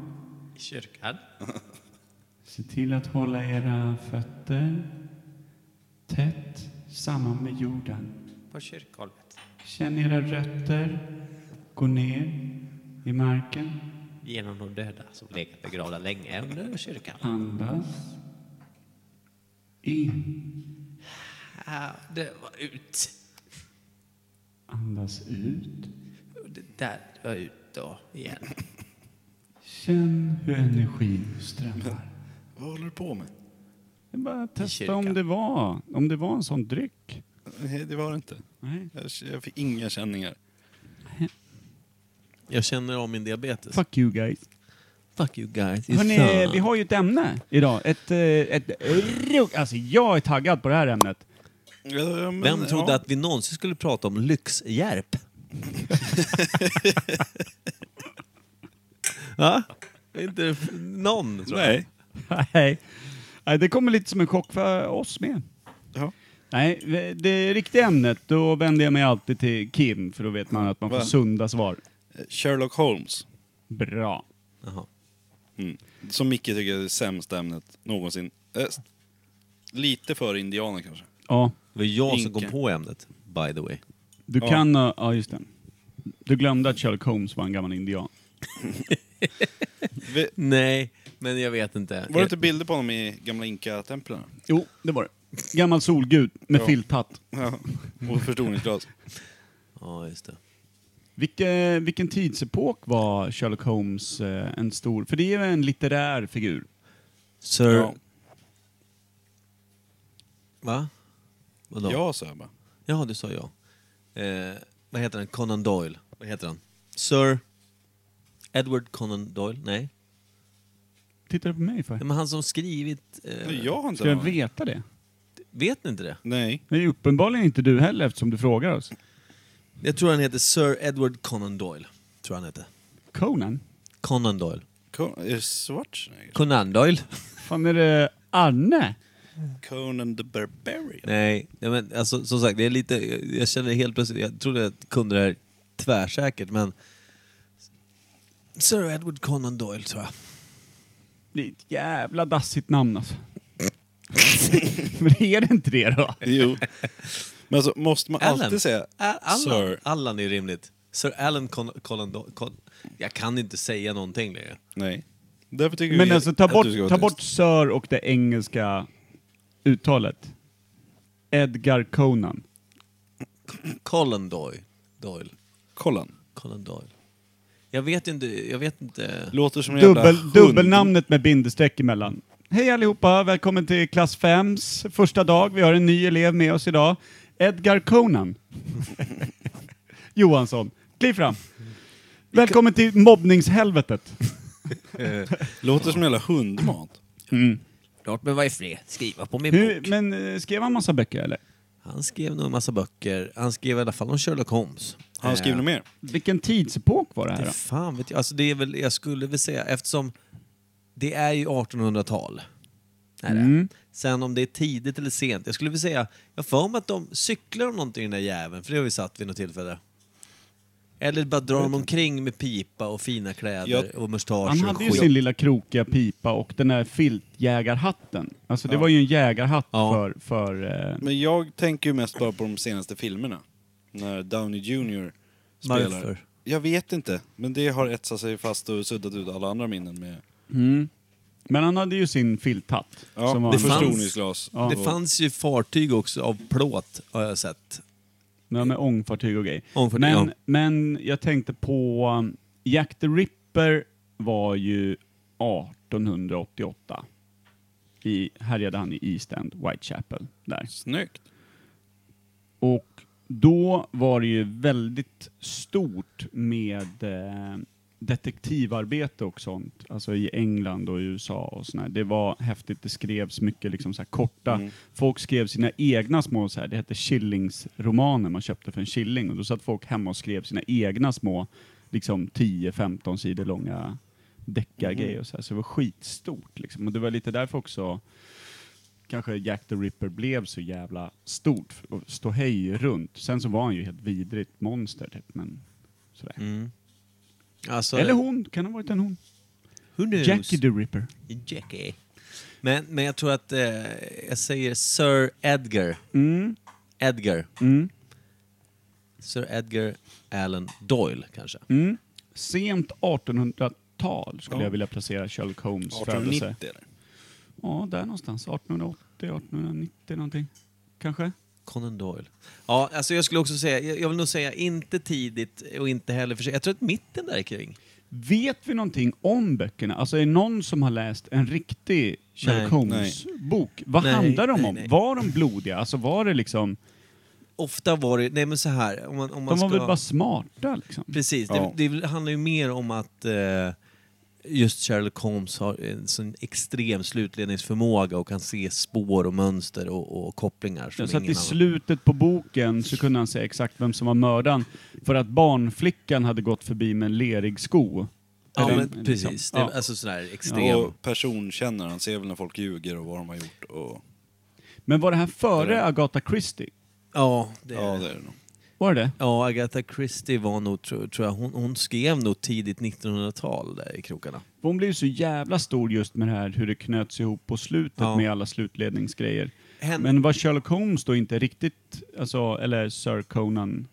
C: I kyrkan.
A: Se till att hålla era fötter tätt samman med jorden.
C: På kyrkgolvet.
A: Känn era rötter gå ner i marken.
C: Genom de döda som legat begravda länge under kyrkan.
A: Andas. In.
C: Ah, det var ut.
A: Andas ut.
C: Det där var ut då igen.
A: Känn hur energin strömmar.
B: Vad håller du på med?
A: Det är bara att testa
C: kyrkan.
A: om det var, om det var en sån dryck.
B: Nej, det var det inte.
A: Nej.
B: Jag, jag fick inga känningar.
C: Jag känner av min diabetes.
A: Fuck you guys.
C: Fuck you guys.
A: Hörrni, vi har ju ett ämne idag. Ett, eh, ett, ett, alltså jag är taggad på det här ämnet.
B: Ja, men,
C: Vem trodde
B: ja.
C: att vi någonsin skulle prata om Lyxhjärp? Va? Inte f- någon, tror jag.
B: Nej.
A: Nej. Nej, det kommer lite som en chock för oss med.
B: Ja.
A: Nej, det riktiga ämnet, då vänder jag mig alltid till Kim, för då vet man att man får
B: Va?
A: sunda svar.
B: Sherlock Holmes.
A: Bra.
C: Jaha.
B: Mm. Som Micke tycker är det sämsta ämnet någonsin. Eh, lite före indianer kanske.
A: Ja,
C: Det var jag som
B: Inka.
C: kom på ämnet, by the way.
A: du
B: Ja.
A: kan... ha- Ja, just det. Du glömde att Sherlock Holmes var en gammal indian.
B: Vi,
C: Nej, men jag vet inte.
A: Eh.
B: var det typ- inte bilder på honom i gamla inka-templen?
A: Jo, det var det. Gammal solgud med
B: Ja.
A: filthatt.
B: Ja. Och förstoringsglas.
C: Ja, just det.
A: Vilke, vilken tidsepok var Sherlock Holmes eh, en stor... För det är ju en litterär figur.
C: Sir...
B: Ja.
C: Va? Vadå?
B: Ja, sa jag bara.
C: Jaha, du sa ja. Eh, vad heter han? Conan Doyle. Vad heter han? Sir... Edward Conan Doyle? Nej.
A: Tittar du på mig för?
C: Nej, Men han som skrivit... Eh,
B: Jag har inte
A: Ska jag
B: någon.
A: veta det?
C: Vet ni inte det?
B: Nej.
A: Det är uppenbarligen inte du heller eftersom du frågar oss.
C: Jag tror han heter Sir Edward Conan Doyle. Tror han heter.
A: Conan?
C: Conan Doyle.
B: Con- är det eh, Schwarzenegger?
C: Conan Doyle?
A: Fan är det Arne?
B: Conan the Barbarian?
C: Nej, nej men alltså, som sagt, det är lite, jag, jag känner helt plötsligt, jag trodde jag kunde det här tvärsäkert men... Sir Edward Conan Doyle tror jag.
A: Det är ett jävla dassigt namn alltså. Men är det inte det då?
B: Jo. Men alltså, måste man
C: Alan.
B: alltid säga
C: Ä- Allan,
B: Sir?
C: Allan är rimligt. Sir Alan Con- Conan Doyle. Con- jag kan inte säga någonting längre.
B: Nej. Därför tycker
A: Men
B: vi
A: alltså ta
B: att
A: bort,
B: du ska vara
A: ta
B: tyst.
A: bort Sir och det engelska uttalet. Edgar Conan.
C: Conan Doyle. Doyle.
B: Colin.
C: Conan Doyle. Jag vet inte, jag vet inte.
B: Låter som en jävla
A: Dubbel,
B: hund.
A: dubbelnamnet med bindestreck emellan. Hej allihopa, välkommen till klass 5s första dag. Vi har en ny elev med oss idag. Edgar Conan. Johansson, kliv fram. Välkommen till mobbningshelvetet.
B: Låter som en jävla hundmat.
C: Låt mig vara ifred, skriva på min
A: Hur, men eh, skrev han massa böcker eller?
C: Han skrev nog en massa böcker. Han skrev i alla fall om Sherlock Holmes.
B: Har han skrivit något mer?
A: Vilken tidsepok var det här
C: Det
A: då?
C: fan vet jag. Alltså det är väl, jag skulle väl säga, eftersom det är ju 1800-tal. Är det.
A: Mm.
C: Sen om det är tidigt eller sent. Jag skulle vilja säga, jag har för mig att de cyklar om någonting i den där jäveln, för det har vi satt vid något tillfälle. Eller bara drar de omkring med pipa och fina kläder
B: Jag-
C: och
A: Han
C: mustascher och
A: hade ju
C: skit.
A: sin lilla krokiga pipa och den där filtjägarhatten. Alltså det var ju en jägarhatt
C: Ja.
A: för... för eh,
B: Men jag tänker ju mest bara på de senaste filmerna. När Downey Jr spelar.
C: Varför?
B: Jag vet inte. Men det har etsat sig fast och suddat ut alla andra minnen med
A: men han hade ju sin filthatt.
B: ja,
A: som var
B: det
A: en-
C: fanns-
B: förstoringsglas.
C: Det
B: Och-
C: fanns ju fartyg också av plåt har jag sett.
A: Ja, med ångfartyg och grejer.
C: Ångfartyg,
A: men,
C: ja.
A: men jag tänkte på... um, Jack the Ripper var ju 1888. I, härjade han i East End, Whitechapel, där.
B: Snyggt.
A: Och då var det ju väldigt stort med eh, detektivarbete och sånt, alltså i England och i USA och sådär. Det var häftigt, det skrevs mycket liksom så här korta, folk skrev sina egna små så här, det hette shillingsromaner man köpte för en shilling och då satt folk hemma och skrev sina egna små, liksom 10-15 sidor långa deckargrej och så här, så det var skitstort liksom. Och det var lite därför också kanske Jack the Ripper blev så jävla stort och ståhej runt. Sen så var han ju helt vidrigt monster typ, men sådär.
C: Mm. Alltså,
A: Eller hon, kan ha varit en hon?
C: who knows?
A: Jackie the Ripper.
C: Jackie. Men, men jag tror att eh, jag säger Sir Edgar.
A: Mm,
C: Edgar.
A: mm,
C: Sir Edgar Allan Doyle kanske.
A: mm. Sent 1800-tal skulle
B: Ja.
A: jag vilja placera Sherlock Holmes födelse.
B: 1890 eller?
A: Ja, där någonstans. 1880, 1890 någonting. Kanske?
C: Conan Doyle. Ja, alltså jag skulle också säga, jag, jag vill nog säga inte tidigt och inte heller för sig. Jag tror att mitten där kring.
A: Vet vi någonting om böckerna? Alltså är det någon som har läst en riktig Sherlock
C: Nej.
A: Holmes-bok? Vad
C: Nej,
A: handlar de
C: nej,
A: om?
C: nej.
A: Var de blodiga? Alltså var det liksom...
C: Ofta var det, nej men så här, om man, om man
A: De var
C: ska...
A: väl bara smarta liksom?
C: Precis,
B: Ja.
C: det, det handlar ju mer om att eh, just Sherlock Holmes har en sån extrem slutledningsförmåga och kan se spår och mönster och, och kopplingar som
A: Så att
C: ingen
A: i
C: annan.
A: slutet på boken så kunde han säga exakt vem som var mördaren för att barnflickan hade gått förbi med en lerig sko.
C: Ja,
A: Eller-
C: men
A: liksom,
C: precis.
A: ja.
C: Det, alltså sådär extrem. Ja,
B: Och personkänner, han ser väl när folk ljuger och vad de har gjort. Och,
A: Men var det här före
B: Eller-
A: Agatha Christie?
C: det,
B: ja, det är det nog.
A: Var det det
C: ja, Agatha Christie var nog, tror, tror jag, hon, hon skrev nog tidigt 1900-tal där i krokarna.
A: För hon blev ju så jävla stor just med det här hur det knöts ihop på slutet
C: Ja.
A: med alla slutledningsgrejer.
C: Hen-
A: Men var Sherlock Holmes då inte riktigt, alltså, eller Sir Conan,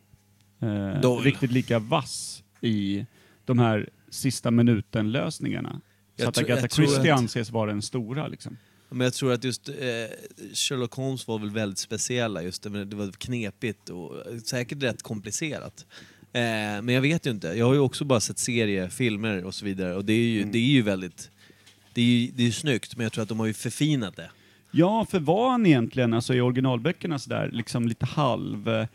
A: eh,
C: Doyle.
A: riktigt lika vass i de här sista minuten-lösningarna? Så
C: Jag
A: att
C: tror-
A: Agatha
C: jag tror
A: Christie
C: att-
A: anses vara den stora liksom.
C: Men jag tror att just eh, Sherlock Holmes var väl väldigt speciella. Just det, men det var knepigt och eh, säkert rätt komplicerat. Eh, men jag vet ju inte. Jag har ju också bara sett serier, filmer och så vidare. Och det är ju,
A: Mm.
C: det är ju väldigt... Det är ju, det är ju snyggt, men jag tror att de har ju förfinat det.
A: Ja, för var han egentligen, alltså i originalböckerna sådär, liksom lite halv... eh,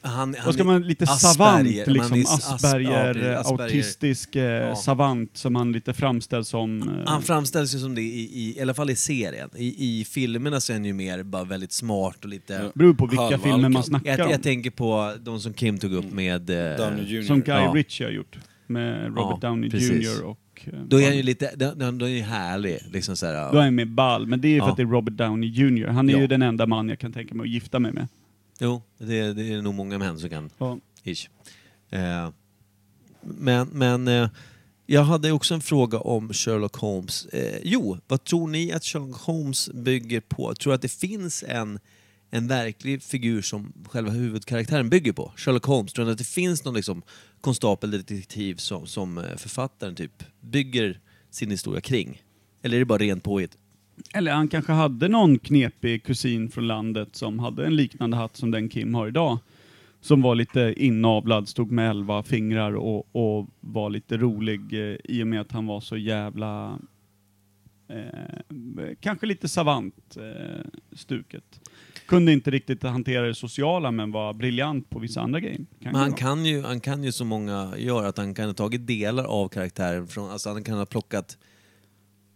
C: Han, han
A: vad ska
C: är
A: man, lite
C: Asperger,
A: savant
C: men
A: liksom,
C: han är as- ja,
A: Asperger,
C: precis,
A: eh, autistisk eh,
C: Ja.
A: savant som han lite framställs som. eh,
C: Han framställs ju som det i, i, i alla fall i serien. I, I filmerna så är han ju mer bara väldigt smart och lite...
B: Ja.
A: beror på vilka
B: halvalkad.
A: filmer man snackar
C: Jag,
A: om.
C: jag tänker på de som Kim tog upp med... eh,
B: Downey Jr.
A: Som Guy
C: Ja.
A: Ritchie har gjort. Med Robert
C: Ja,
A: Downey
C: precis.
A: Jr och... eh,
C: Då är han ju lite... Då, då, då är han ju härlig. Liksom så här, ja.
A: Då är han med ball, men det är ju för
C: Ja.
A: att det är Robert Downey Jr. Han är
C: Ja.
A: ju den enda man jag kan tänka mig att gifta mig med.
C: Jo, det, det är nog många män som kan.
A: Ja.
C: Ish. Eh, men men eh, jag hade också en fråga om Sherlock Holmes. Eh, jo, vad tror ni att Sherlock Holmes bygger på? Tror att det finns en, en verklig figur som själva huvudkaraktären bygger på? Sherlock Holmes, tror ni att det finns någon liksom, konstapel eller detektiv som, som eh, författaren typ bygger sin historia kring? Eller är det bara rent påhitt?
A: Eller han kanske hade någon knepig kusin från landet som hade en liknande hatt som den Kim har idag. Som var lite inavlad, stod med elva fingrar och, och var lite rolig eh, i och med att han var så jävla... Eh, kanske lite savant, eh, stuket. Kunde inte riktigt hantera det sociala men var briljant på vissa andra grejer. Kan
C: Men han
A: vara.
C: kan, ju, han kan ju som många gör, att han kan ha tagit delar av karaktären från, alltså han kan ha plockat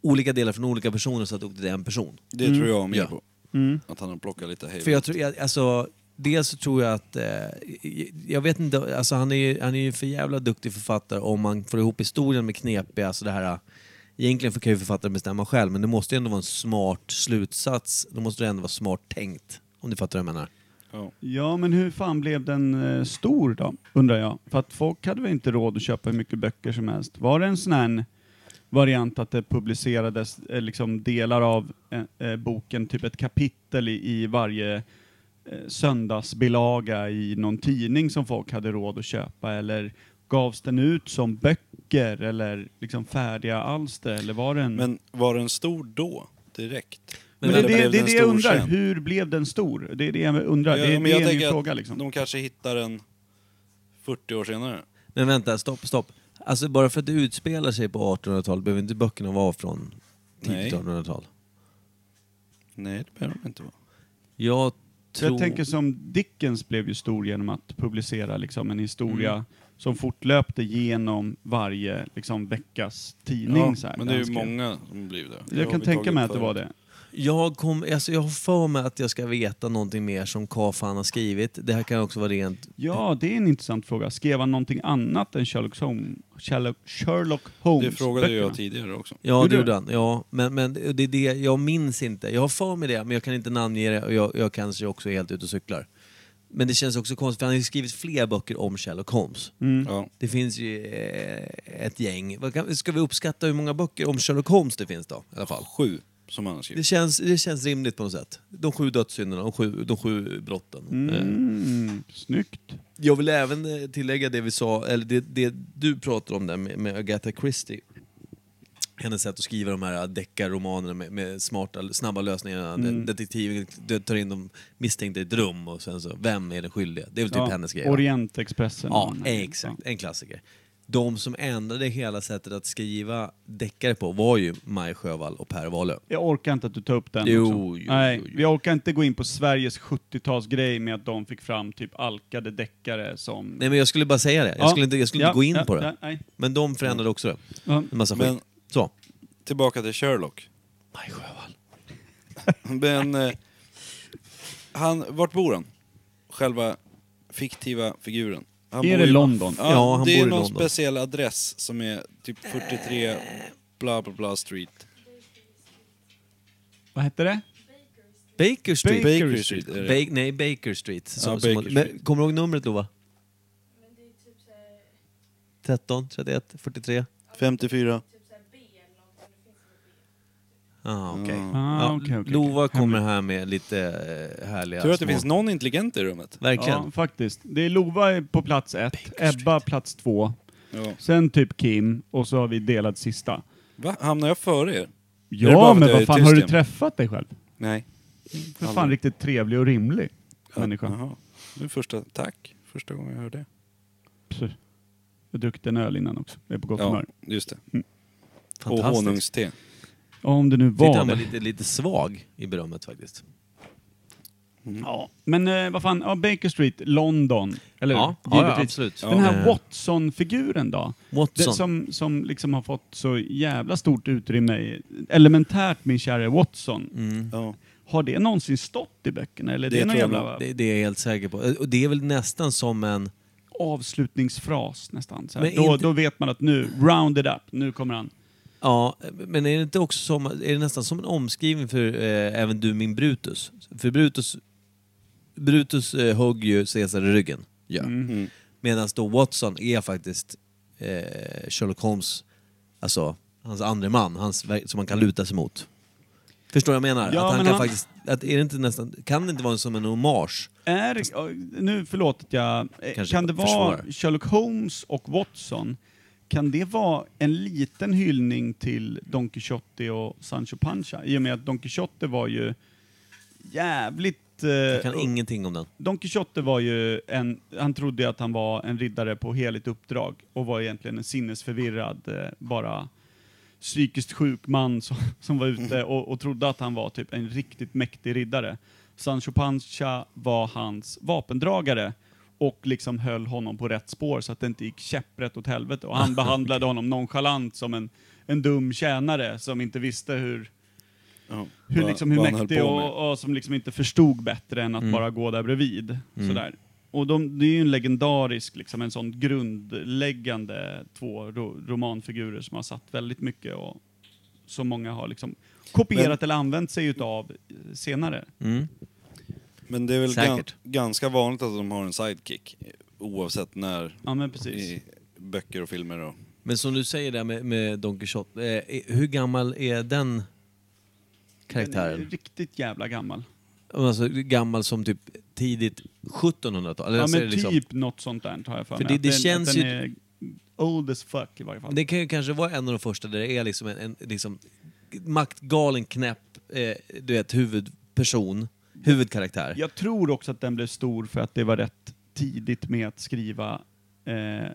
C: olika delar från olika personer så att det åkte till en person.
B: Det tror jag mer
C: Mm. Ja.
B: på.
A: Mm.
B: Att han har plockat lite hej
C: För jag tror, jag, alltså, dels så tror jag att, eh, jag vet inte, alltså han är ju, han är ju för jävla duktig författare om man får ihop historien med knepiga, alltså det här, eh, egentligen kan ju författaren bestämma själv, men det måste ju ändå vara en smart slutsats, det måste det ändå vara smart tänkt, om du fattar vad jag menar.
B: ja.
A: Ja, men hur fan blev den eh, stor då, undrar jag? För att folk hade väl inte råd att köpa hur mycket böcker som helst. Var det en sån här variant att det publicerades eh, liksom delar av eh, eh, boken, typ ett kapitel i, i varje eh, söndagsbilaga i någon tidning som folk hade råd att köpa, eller gavs den ut som böcker eller liksom färdiga alster, eller var den...
B: Men var den stor då? Direkt?
A: Men
B: Eller
A: det, är det,
B: blev
A: det är
B: den
A: det jag
B: stor
A: undrar,
B: sen?
A: hur blev den stor? Det är det jag undrar,
B: Ja,
A: det, är-
B: men
A: det
B: jag
A: är min
B: tänker att
A: fråga liksom.
B: De kanske hittar den 40 år senare.
C: Men vänta, stopp, stopp. Alltså bara för att det utspelar sig på 1800-talet behöver inte böckerna vara från
B: Nej.
C: tidigt 1800-tal?
B: Nej, det behöver de inte vara.
C: Jag
A: Så
C: tror...
A: Jag tänker som Dickens blev ju stor genom att publicera liksom en historia
B: Mm.
A: som fortlöpte genom varje liksom, veckas tidning. så här,
B: men det är ju
A: ganska-
B: många som blir det.
A: Jag kan tänka mig att det var det.
C: Jag, kom, alltså jag har för mig att jag ska veta någonting mer som Kafan har skrivit. Det här kan också vara rent...
A: Ja, det är en intressant fråga. Skrev han någonting annat än Sherlock Holmes? Sherlock, Sherlock Holmes
B: Det frågade jag
A: böckerna?
B: tidigare också.
C: Ja,
A: Gjorde
C: det
A: du?
C: gjorde han. Ja, men, men det är det, jag minns inte. Jag har för mig det, men jag kan inte namnge det och jag, jag kanske också är helt ute och cyklar. Men det känns också konstigt, för han har ju skrivit fler böcker om Sherlock Holmes.
A: Mm.
B: Ja.
C: Det finns ju eh, ett gäng. Vad kan- Ska vi uppskatta hur många böcker om Sherlock Holmes det finns då? I alla fall.
B: Sju, som han har skrivit.
C: Det känns, det känns rimligt på något sätt. De sju dödssynderna, de sju, de sju brotten. Eh,
A: Mm, snyggt.
C: Jag vill även eh, tillägga det vi sa, eller det, det du pratade om där med, med Agatha Christie. Hennes sätt att skriva de här deckarromanerna med, med smarta, snabba lösningar. Mm. Detektiven det tar in de misstänkta i ett rum och sen så, vem är den skyldiga? Det är väl typ hennes grej. va?
A: Orientexpressen.
C: Ja, exakt. En klassiker. De som ändrade hela sättet att skriva deckare på var ju Maj Sjövall och Per Wahlöö.
A: Jag orkar inte att du tar upp den
C: Jo,
A: också.
C: jo,
A: Nej,
C: jo, jo.
A: vi orkar inte gå in på Sveriges 70-talsgrej med att de fick fram typ alkade deckare som...
C: Nej men jag skulle bara säga det. Jag skulle inte, jag skulle
A: Ja,
C: inte gå in
A: ja,
C: på det.
A: ja, nej.
C: Men de förändrade också det.
A: Ja.
C: En massa
B: Men-
C: skit. Så.
B: Tillbaka till Sherlock.
C: Maj Sjövall.
B: Men... Eh, han, vart bor han? Själva fiktiva figuren. Han
A: Är
B: bor
A: det
B: i-
A: London?
B: Ja,
C: Ja, han
B: det
C: bor
B: är någon
C: i London.
B: speciell adress som är typ 43 bla bla bla street.
A: Vad hette det?
C: Baker Street.
A: Baker
B: Baker
A: Street.
B: Street är det.
C: Ba- nej, Baker Street. Som,
B: Ja,
C: som,
B: Baker
C: men,
B: Street.
C: kommer du ihåg numret Lova? 13, 31, 43?
B: 54.
C: Ah, okej.
A: Ah,
C: Ja,
A: okej, okej.
C: Lova kommer här med lite eh, härliga
B: Tror att det
C: små-
B: finns någon intelligent i rummet?
C: Verkligen.
A: Ja, faktiskt. Det är Lova är på plats ett, Ebba plats två,
B: Ja.
A: sen typ Kim och så har vi delat sista.
B: Va? Hamnar jag före er? det bara
A: Ja,
B: för att
A: men
B: jag
A: vad
B: är
A: fan,
B: tyst
A: har du
B: igen?
A: träffat dig själv?
B: Nej.
A: För fan
B: Aldrig.
A: riktigt trevlig och rimlig människa.
B: Jaha. Det är första, tack. Första gången jag hör det.
A: Pss. Jag druckit en öl innan också. Jag är på gott humör.
B: just det.
A: Mm.
B: Och
C: Fantastiskt.
B: honungste.
A: Om det nu
C: Tyckte
A: var
C: han var
A: det.
C: lite, lite svag i berömmet faktiskt.
A: Ja. Men eh, vad fan, ja, Baker Street, London. Eller
C: Ja,
A: hur?
C: ja, ja,
A: Givetvis.
C: absolut.
A: Den här
C: Ja. Eh.
A: Watson-figuren då?
C: Watson.
A: Det som, som liksom har fått så jävla stort utrymme i, elementärt min kära Watson.
C: Mm.
B: Ja.
A: Har det någonsin stått i böckerna? Eller är
B: Det
A: det, någon
B: tror jag
A: jävla
C: Det, det är jag helt säker på. Och det är väl nästan som en...
A: avslutningsfras nästan? Så här.
C: Men
A: Då,
C: inte-
A: då vet man att nu, round it up, nu kommer han.
C: Ja, men är det inte också som, är det nästan som en omskrivning för eh, även du min Brutus? För Brutus, Brutus eh, högg ju Caesar i ryggen. Ja.
A: Mhm.
C: Medan då Watson är faktiskt eh, Sherlock Holmes, alltså hans andre man, hans, verk- som man kan luta sig mot. Förstår jag vad jag menar?
A: Ja,
C: att han
A: men
C: kan
A: han-
C: faktiskt, att är det inte nästan, kan det inte vara som en hommage?
A: Är, ja, nu förlåt att jag... eh,
C: Kanske
A: kan det vara
C: försvårar.
A: Sherlock Holmes och Watson? Kan det vara en liten hyllning till Don Quixote och Sancho Panza? I och med att Don Quixote var ju jävligt...
C: Jag kan
A: Eh,
C: ingenting om den.
A: Don Quixote var ju en... Han trodde ju att han var en riddare på heligt uppdrag och var egentligen en sinnesförvirrad, eh, bara psykiskt sjuk man som, som var ute och, och trodde att han var typ en riktigt mäktig riddare. Sancho Panza var hans vapendragare och liksom höll honom på rätt spår så att det inte gick käpprätt åt helvete. Och han behandlade honom nonchalant som en, en dum tjänare som inte visste hur,
B: Ja.
A: hur,
B: Vad-
A: liksom, hur
B: vad han höll
A: mäktig
B: på med.
A: och, och som liksom inte förstod bättre än att
C: Mm.
A: bara gå där bredvid. Sådär. Och de, det är ju en legendarisk, liksom, en sån grundläggande två ro, romanfigurer som har satt väldigt mycket och som många har liksom kopierat
B: Men-
A: eller använt sig utav eh, senare.
C: Mm.
B: Men det är väl gan,
C: Säkert.
B: ganska vanligt att de har en sidekick. eh, Oavsett när
A: Ja men precis.
B: i böcker och filmer och...
C: Men som du säger där med, med Don Quixote, eh, hur gammal är den
A: Den är ju
C: karaktären?
A: riktigt jävla gammal.
C: Alltså gammal som typ tidigt 1700-tal? Eller
A: Ja
C: alltså,
A: men
C: är det
A: typ
C: liksom,
A: något sånt där har jag för
C: För
A: mig.
C: det-
A: Att
C: det
A: den- att
C: känns
A: den
C: ju-
A: är old as fuck i varje fall.
C: Det kan ju kanske vara en av de första där det är liksom en, en liksom, maktgalen knäpp, eh, du vet, huvudperson, huvudkaraktär.
A: Jag tror också att den blev stor för att det var rätt tidigt med att skriva eh,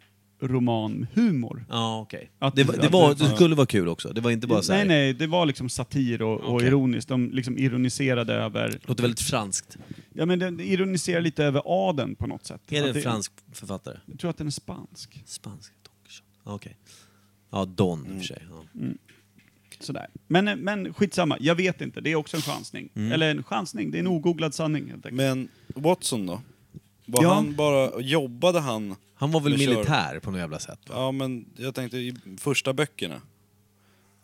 A: romanhumor.
C: Ja, okej.
A: Att-
C: Det, var- det,
A: att-
C: var- det
A: ja.
C: skulle vara kul också, det var inte bara så här.
A: Nej, nej, det var liksom satir och, och
C: Okej.
A: ironiskt. De liksom ironiserade över...
C: Låter väldigt franskt.
A: Ja, men den ironiserar lite över adeln på något sätt.
C: Är
A: Att
C: det en fransk författare?
A: Jag tror att den är spansk. Mm.
C: Spansk Don Quixote. Ja, Okej. Ja, Don i och för sig. Ja.
A: Sådär. Men, eh, men skitsamma, jag vet inte. Det är också en chansning.
C: Mm.
A: Eller en chansning, det är en ogooglad sanning helt enkelt.
B: Men Watson då? Var
A: Ja.
B: han bara, jobbade han?
C: Han var väl
B: Med kör.
C: militär på något jävla sätt? Va?
B: Ja men jag tänkte i första böckerna.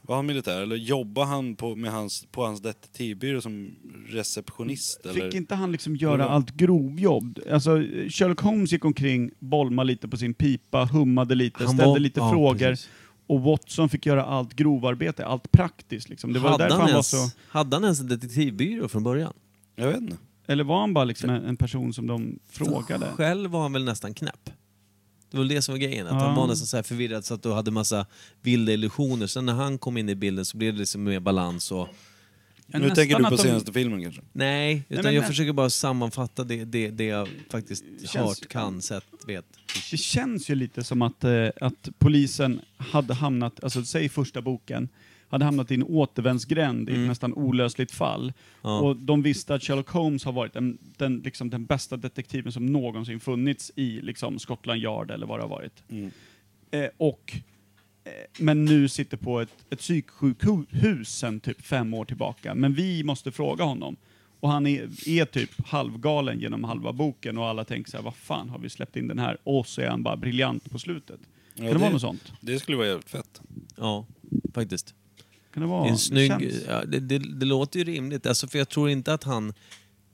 B: Var han militär eller jobbade han på, med hans, på hans detektivbyrå som receptionist?
A: Fick
B: Eller?
A: inte han liksom göra allt grovjobb? Alltså, Sherlock Holmes gick omkring, bolmade lite på sin pipa, hummade lite,
C: Han
A: ställde
C: var-
A: lite
C: ja,
A: frågor.
C: precis.
A: Och Watson fick göra allt grovarbete, allt praktiskt liksom. Det var
C: hade,
A: därför
C: han
A: han var
C: ens,
A: så...
C: hade han ens en detektivbyrå från början?
B: Jag vet inte.
A: Eller var han bara liksom en, en person som de frågade?
C: Själv var han väl nästan knäpp. Det var väl det som var grejen, att
A: Ja.
C: han var nästan så här förvirrad så att du hade massa vilda illusioner. Sen när han kom in i bilden så blev det liksom mer balans och...
A: Ja,
B: nu
A: nästan
B: tänker du
A: att
B: på
A: de-
B: senaste filmen kanske?
C: Nej, utan
A: men-
C: jag försöker bara sammanfatta det, det, det jag faktiskt
A: känns-
C: hört, kan, sett, vet.
A: Det känns ju lite som att, eh, att polisen hade hamnat, alltså säg första boken, hade hamnat i en återvändsgränd i ett nästan olösligt fall.
C: Ja.
A: Och de visste att Sherlock Holmes har varit den, den, liksom, den bästa detektiven som någonsin funnits i liksom, Scotland Yard eller vad det har varit. Eh, och, eh, men nu sitter på ett, ett psyksjukhus sen typ fem år tillbaka. Men vi måste fråga honom. Och han är, är typ halvgalen genom halva boken och alla tänker så här, vad fan har vi släppt in den här? Och så är han bara briljant på slutet. kan det,
B: det-
A: vara något sånt?
B: Det skulle vara jävligt fett.
C: Ja, faktiskt.
A: Kan det vara?
C: Det är en snygg...
A: känns-
C: ja, det, det, det låter ju rimligt. Alltså, för jag tror inte att han...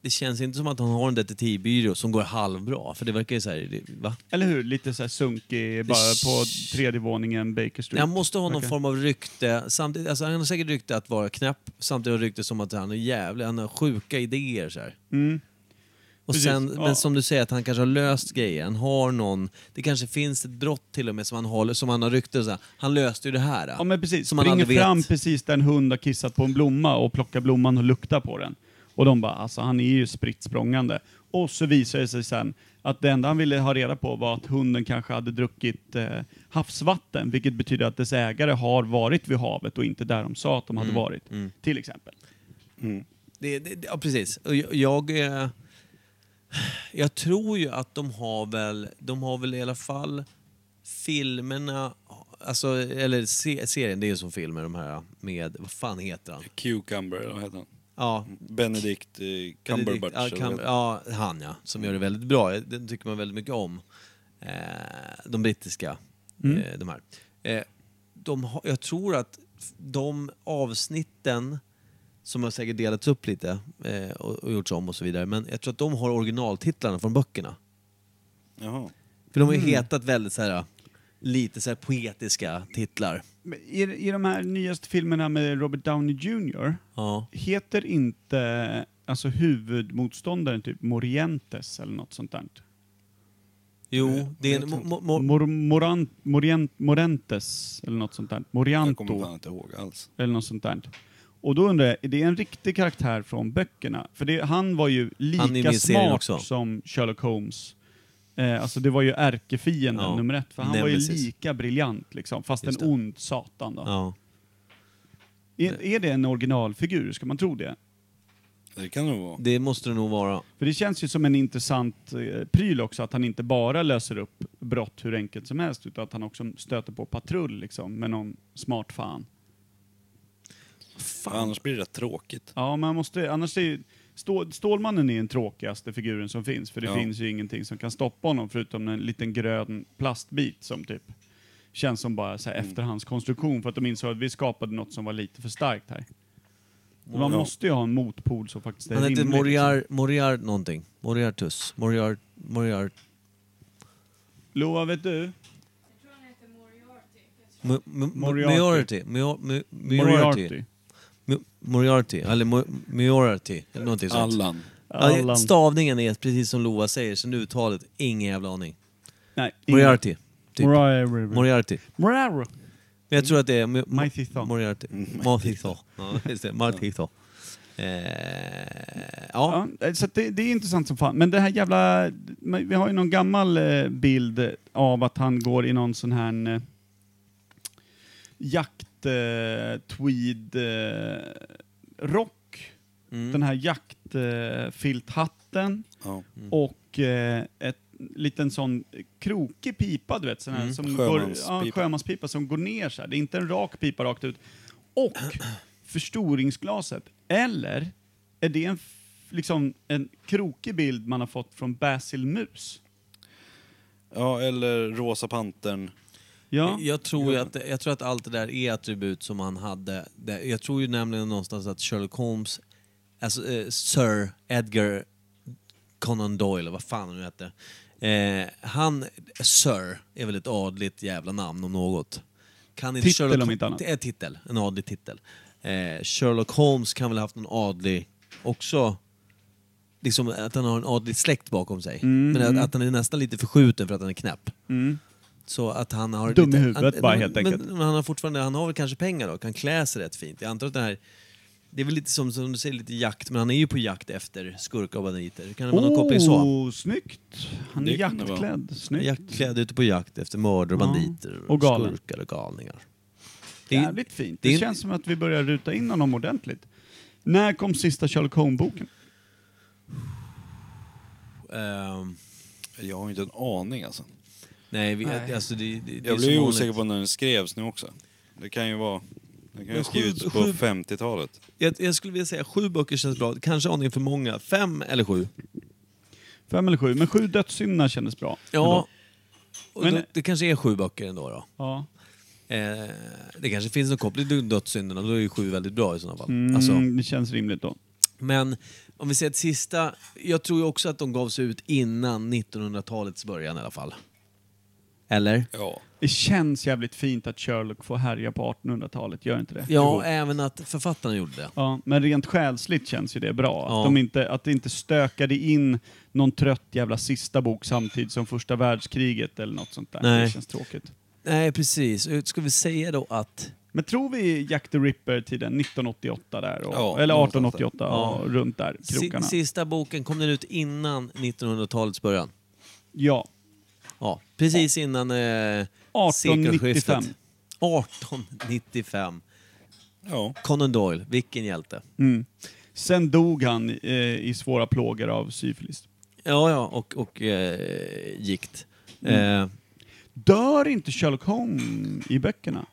C: Det känns inte som att han har en detektivbyrå som går halvbra. För det verkar ju så här... Det, va?
A: Eller hur? Lite så här sunkig, bara på tredje våningen, Baker Street.
C: Han måste ha någon
A: Verkar-
C: form av rykte. Samtidigt, alltså, han har säkert rykte att vara knäpp. Samtidigt har han rykte som att han är jävlig. Han har sjuka idéer så här.
A: Mm.
C: Och
A: Precis,
C: sen,
A: ja.
C: Men som du säger, att han kanske har löst grejen. Har någon, det kanske finns ett brott till och med som han har, som han har rykte. och Så här, han löste ju det här.
A: Ja men precis,
C: Som man
A: springer
C: aldrig vet.
A: fram precis där en hund har kissat på en blomma och plockar blomman och luktar på den. Och de bara, alltså han är ju spritt språngande. Och så visar det sig sen att det enda han ville ha reda på var att hunden kanske hade druckit eh, havsvatten, vilket betyder att dess ägare har varit vid havet och inte där de sa att de
C: Mm,
A: hade varit. Till exempel.
C: Det, det, det- ja, precis. Och jag, jag, eh, jag tror ju att de har väl, de har väl i alla fall filmerna, alltså, eller se, serien, det är ju som filmer de här med, vad fan heter han?
B: Cucumber, eller vad heter han?
C: Ja,
B: Benedict eh, Cumberbatch.
C: Ja,
B: eller vad
C: Cum-
B: heter han?
C: ja, han ja, som gör det väldigt bra. Den tycker man väldigt mycket om. Eh, de brittiska, eh, de här. Eh, de har, jag tror att f- de avsnitten som har säkert delats upp lite eh, och, och gjorts om och så vidare, men jag tror att de har originaltitlarna från böckerna.
B: Jaha.
C: För de har ju hetat väldigt så här, lite så här poetiska titlar.
A: Men I, I de här nyaste filmerna med Robert Downey Jr.
C: Ja.
A: Heter inte alltså huvudmotståndaren typ Morientes eller något sånt där?
C: Jo, det är en... mo- Eh, mo-
A: Mor, morant, morient, morentes eller något sånt där.
B: Jag kommer
A: Morianto
B: fan inte ihåg alls.
A: eller något sånt där. Och då undrar jag, är det en riktig karaktär från böckerna? För det, han var ju
C: Han är
A: lika
C: med i serien
A: smart
C: också.
A: som Sherlock Holmes. Eh, alltså det var ju ärkefienden
C: Ja.
A: nummer ett, för han
C: Nej,
A: var ju
C: precis.
A: lika briljant liksom, fast
C: Just
A: en
C: det.
A: ond satan då.
C: ja.
A: Är, är det en originalfigur, ska man tro det?
B: Det kan det nog vara.
C: Det måste det nog vara.
A: För det känns ju som en intressant eh, pryl också att han inte bara löser upp brott hur enkelt som helst utan att han också stöter på patrull liksom med någon smart fan.
B: Annars blir det rätt tråkigt.
A: Ja, man måste, annars är ju, Stå- Stålmannen är den tråkigaste figuren som finns för det
B: Ja.
A: finns ju ingenting som kan stoppa honom förutom en liten grön plastbit som typ känns som bara så här efterhandskonstruktion för att de insåg att vi skapade något som var lite för starkt här. Men Man
B: Ja.
A: måste ju ha en motpol som faktiskt är liksom.
C: Han hette
A: rimlig.
C: Moriar, Moriar någonting. Moriartus. Moriar, Moriar,
A: liksom. Loa, vet du?
C: Mo- Mo-
A: Moriarty.
C: Moriarty. Mio- Mo- Moriarty.
A: Moriarty.
C: Mo- Moriarty. Eller Mo- Moriarty. Eller någonting sånt.
B: Allan.
C: Ja,
A: Allan.
C: Stavningen är precis som Loa säger, sen uttalet, ingen jävla aning.
A: Nej, ingen.
C: Moriarty. Typ.
A: Moriarty.
C: Moriarty.
A: Moriarty.
C: Men jag tror att det är... Mo- Mo-
A: Mighty Thaw.
C: Moriarty. Mighty Thaw. Ja, just det. Mighty Thaw. Eh, Ja,
A: Ja, så att det, det är intressant som fan. Men det här jävla... men Vi har ju någon gammal eh, bild av att han går i någon sån här eh, jakt... Eh, tweed... Eh, rock.
C: Mm.
A: Den här jaktfilthatten. Eh, filthatten
B: Ja.
A: Och eh, ett liten sån krokig pipa, du vet. Sån här, som går, ja,
B: Sjömanspipa.
A: en sjömanspipa som går ner så här. Det är inte en rak pipa rakt ut. och förstoringsglaset? Eller är det en, f- liksom, en krokig bild man har fått från Basil Mus?
B: Ja, eller Rosa Pantern.
A: Ja,
C: Jag, tror ju att, jag tror att allt det där är attribut som han hade. Det- Jag tror ju nämligen någonstans att Sherlock Holmes, alltså eh, Sir Edgar Conan Doyle, vad fan han nu hette. Eh, han, Sir, är väl ett adligt jävla namn om något. Kan inte
A: Titel om inte annat.
C: Det är titel, en adlig titel. Eh, Sherlock Holmes kan väl ha haft någon adlig också. Liksom att han har en adlig släkt bakom sig.
A: Mm.
C: Men att, att han är nästan lite förskjuten för att han är knäpp. Så att han har...
A: Dum i huvudet bara, helt
C: men,
A: enkelt.
C: Men han har fortfarande, han har väl kanske pengar då, kan klä sig rätt fint. Jag antar att det här... Det är väl lite som, som du säger, lite jakt, men han är ju på jakt efter skurkar och banditer. Kan det vara någon koppling så?
A: oh, snyggt! Han är
B: Det kan det vara.
A: jaktklädd. Snyggt.
C: Jaktklädd ute på jakt efter mördare och
A: Ja.
C: banditer.
A: Och galen.
C: Skurkar och galningar. Det är-
A: Jävligt fint.
C: det
A: Det
C: är-
A: känns som att vi börjar ruta in honom ordentligt. När kom sista Sherlock Holmes-boken?
C: ehm,
B: Jag har inte en aning alltså.
C: nej, vi, alltså det, det, det är
B: Jag
C: som
B: blir ju
C: vanligt.
B: osäker på när den skrevs nu också. Det kan ju vara... Den kan ju
C: Men
B: ha
C: sju-
B: skrivits på
C: sju-
B: 50-talet.
C: Jag, jag skulle vilja säga sju böcker känns bra, kanske aningen för många. Fem eller sju.
A: Fem eller sju, men sju dödssynderna kändes bra.
C: Ja. Och
A: Men-
C: då, det kanske är sju böcker ändå då.
A: Ja.
C: Eh, det kanske finns någon koppling till dödssynderna, då är ju sju väldigt bra i sådana fall.
A: Mm,
C: Alltså,
A: Det känns rimligt då.
C: men om vi ser ett sista, jag tror ju också att de gav sig ut innan 1900-talets början i alla fall. Eller?
B: Ja.
A: Det känns jävligt fint att Sherlock får härja på 1800-talet, gör inte det?
C: Ja, eh. även att författarna gjorde det.
A: Ja, men rent själsligt känns ju det bra.
C: Ja.
A: Att, de inte, att det inte stökade in någon trött jävla sista bok samtidigt som första världskriget eller något sånt där.
C: Nej.
A: Det känns tråkigt.
C: Nej, precis. Ska vi säga då att...
A: Men tror vi Jack the Ripper-tiden, 1988 där? Och,
B: Ja,
A: eller
B: någonstans
A: 1888,
C: där.
A: och runt där,
C: Si
A: krokarna.
C: sista boken, kom den ut innan 1900-talets början?
A: Ja.
C: Ja, precis innan eh,
A: 1895.
C: sekelskiftet. 1895.
B: Ja.
C: Conan Doyle, vilken hjälte.
A: Mm. Sen dog han eh, i svåra plågor av syfilis.
C: Ja, ja, och, och eh, gikt. Eh,
A: Dör inte Sherlock Holmes i böckerna?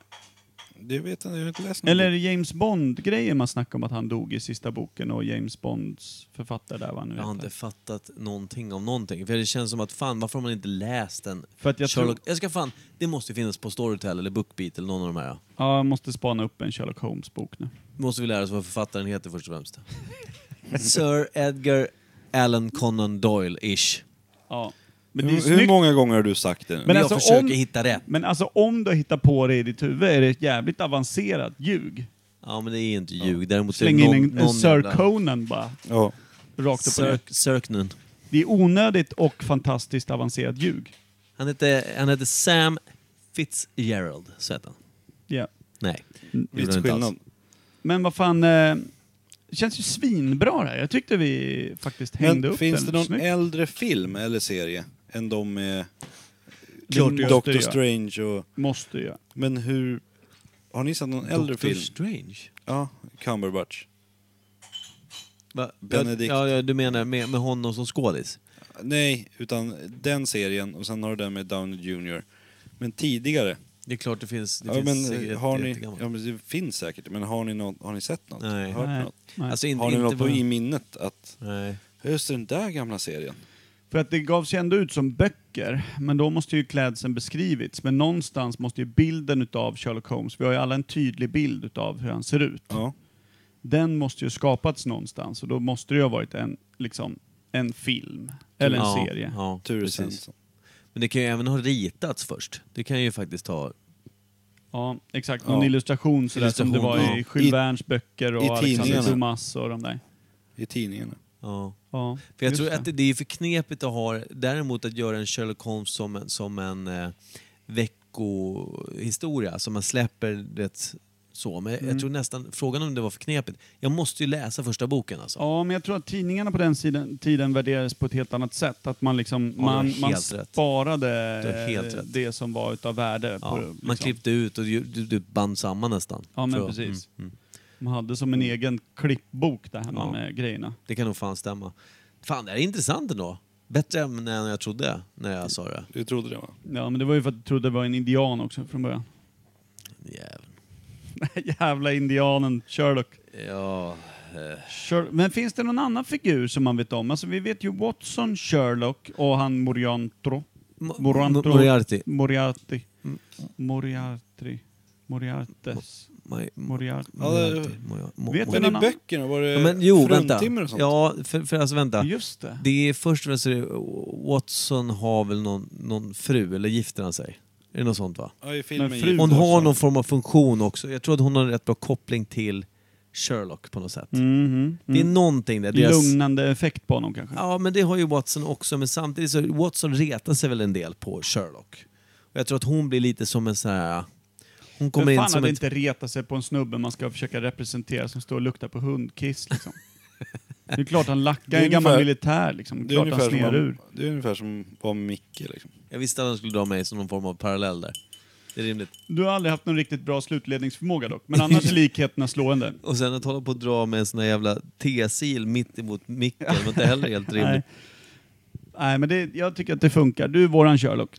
B: Det vet jag inte, jag har inte läst någon
A: Eller är det James Bond-grejer man snackar om att han dog i sista boken och James Bonds författare där, vad han nu
C: jag har
A: heter.
C: inte fattat någonting om någonting. För det känns som att fan, varför har man inte läst den?
A: För att jag
C: Sherlock,
A: tror...
C: jag ska fan, det måste ju finnas på Storytel eller Bookbeat eller någon av de här.
A: Ja, jag måste spana upp en Sherlock Holmes-bok nu.
C: Måste vi lära oss vad författaren heter först och främst. Sir Edgar Allan Conan Doyle-ish.
A: Ja. Men
B: Men
A: det är ju
B: hur, hur
A: snyggt.
B: många gånger har du sagt det nu?
A: Men
C: Men jag
A: alltså,
C: försöker
A: om-
C: hitta rätt.
A: Men alltså om du hittar på det i ditt huvud är det ett jävligt avancerat ljug.
C: Ja, men det är ju inte ljug. Däremot
A: Släng
C: är det
A: in
C: någon,
A: en, en
C: någon
A: Sir
C: jävla-
A: Conan bara,
B: Ja.
A: rakt upp och ner.
C: Sir, Sirknen.
A: Det är onödigt och fantastiskt avancerat ljug.
C: Han hette, han hette Sam Fitzgerald, så hette han.
A: Ja.
C: Nej. det gjorde
B: Viss
C: han inte
B: skillnad.
C: alls.
A: Men vad fan, eh, det känns ju svinbra det här. Jag tyckte vi faktiskt hängde
B: Men
A: upp
B: finns
A: den.
B: det någon
A: Snyggt.
B: äldre film eller serie än de med
A: Klart det måste
B: Doctor
A: jag.
B: Strange och...
A: Måste ju.
B: Men hur... Har ni sett någon äldre
C: Doctor
B: film?
C: Strange?
B: Ja, Cumberbatch.
C: Va?
B: Benedict.
C: Ja, ja, du menar med, med honom som skådis?
B: Nej, utan den serien och sen har du den med Downey Jr. Men tidigare.
C: Det är klart det finns. Det
B: ja,
C: finns
B: men,
C: säkert
B: har ni,
C: jättegammalt.
B: ja, men det finns säkert, men har ni, något, har ni sett något?
C: Nej.
B: Hört
A: Nej.
B: något?
A: Nej.
C: Alltså inte,
B: Har ni
C: inte
B: något på,
C: vad-
B: i minnet att
C: Nej.
B: just den där gamla serien?
A: För att det gavs ju ändå ut som böcker, men då måste ju klädseln beskrivits. Men någonstans måste ju bilden utav Sherlock Holmes, vi har ju alla en tydlig bild utav hur han ser ut.
B: Ja.
A: Den måste ju skapats någonstans och då måste det ju ha varit en, liksom, en film. Eller en
C: ja,
A: serie.
C: Ja,
B: Ture
C: precis.
B: Svensson.
C: Men det kan ju även ha ritats först. Det kan ju faktiskt ha...
A: Ja, exakt. Någon
B: Ja.
A: illustration sådär som det
C: Illustration,
A: var i
C: ja.
A: Jules
B: I-
A: Vernes böcker och
B: i
A: Alexander
B: tidningarna.
A: Dumas och de där.
B: I tidningarna.
C: Ja.
A: Ja,
C: För jag
A: just
C: tror att det, det är för knepigt att ha... Däremot att göra en Sherlock Holmes som, en- som en eh, veckohistoria som man släpper det så. Men jag tror nästan... Frågan om det var för knepigt. Jag måste ju läsa första boken alltså.
A: Ja, men jag tror att tidningarna på den sidan, tiden värderades på ett helt annat sätt. Att man liksom,
C: du har
A: man, man
C: helt rätt.
A: sparade
C: Du har helt
A: eh,
C: rätt.
A: det som var utav värde.
C: Ja,
A: på,
C: Man
A: liksom.
C: klippte ut och ju- du, du band samman nästan.
A: Ja, men
C: Tror jag.
A: precis.
C: Mm, mm.
A: Man hade som en egen klippbok där hemma
C: Ja.
A: med grejerna.
C: Det kan nog fan stämma. Fan, det här är intressant ändå. Bättre ämne än jag trodde när jag sa det.
B: Du trodde det va?
A: Ja, men det var ju för att du trodde det var en indian också från början.
C: Jävlar.
A: Den här jävla indianen Sherlock.
C: Ja, eh.
A: Sher- Men finns det någon annan figur som man vet om? Alltså vi vet ju Watson, Sherlock och han Moriantro.
C: Mo-
A: Morantro-
C: Mo- Moriarty.
A: Moriarty.
B: Mm.
A: Moriarty. Moriartes.
C: Maj-
A: Moriarty.
B: Mm. Ja, det-
C: Moriarty, Mor- Mor-
A: Vet
C: Mor-
A: du någon
B: Men i
A: annan?
B: böckerna, var det
C: Ja, men, jo, vänta.
B: fruntimmer och sånt?
C: Ja, för, för alltså vänta.
A: Just det.
C: Det är först och främst är det- Watson har väl någon, någon fru, eller gifter han sig? Är det något sånt va?
B: Ja, i filmen.
A: Men fru-
C: Hon
B: gick det
C: har
B: också.
C: någon form av funktion också. Jag tror att hon har en rätt bra koppling till Sherlock på något sätt.
A: Mhm.
C: Det är någonting där.
A: Lugnande effekt på honom kanske.
C: Ja, men det har ju Watson också. Men samtidigt så Watson retar sig väl en del på Sherlock. Och jag tror att hon blir lite som en sån här... Hon kommer
A: Vem
C: in
A: fan
C: som
A: hade
C: ett...
A: inte reta sig på en snubbe man ska försöka representera som står och luktar på hundkiss liksom. Det är klart han
B: Det
A: lackar
B: är
A: en gammal
B: ungefär-
A: militär liksom.
B: Det är,
A: Klart han
B: ungefär som
A: snear ur.
B: om, det är ungefär som var med Micke liksom.
C: Jag visste att han skulle dra mig som någon form av parallell där. Det är rimligt.
A: Du har aldrig haft någon riktigt bra slutledningsförmåga dock, men annars är likheterna slående.
C: Och sen att hålla på att dra med en sån här jävla tesil mitt emot micken var inte heller helt
A: Nej.
C: rimligt.
A: Nej, men det, jag tycker att det funkar. Du är våran Sherlock.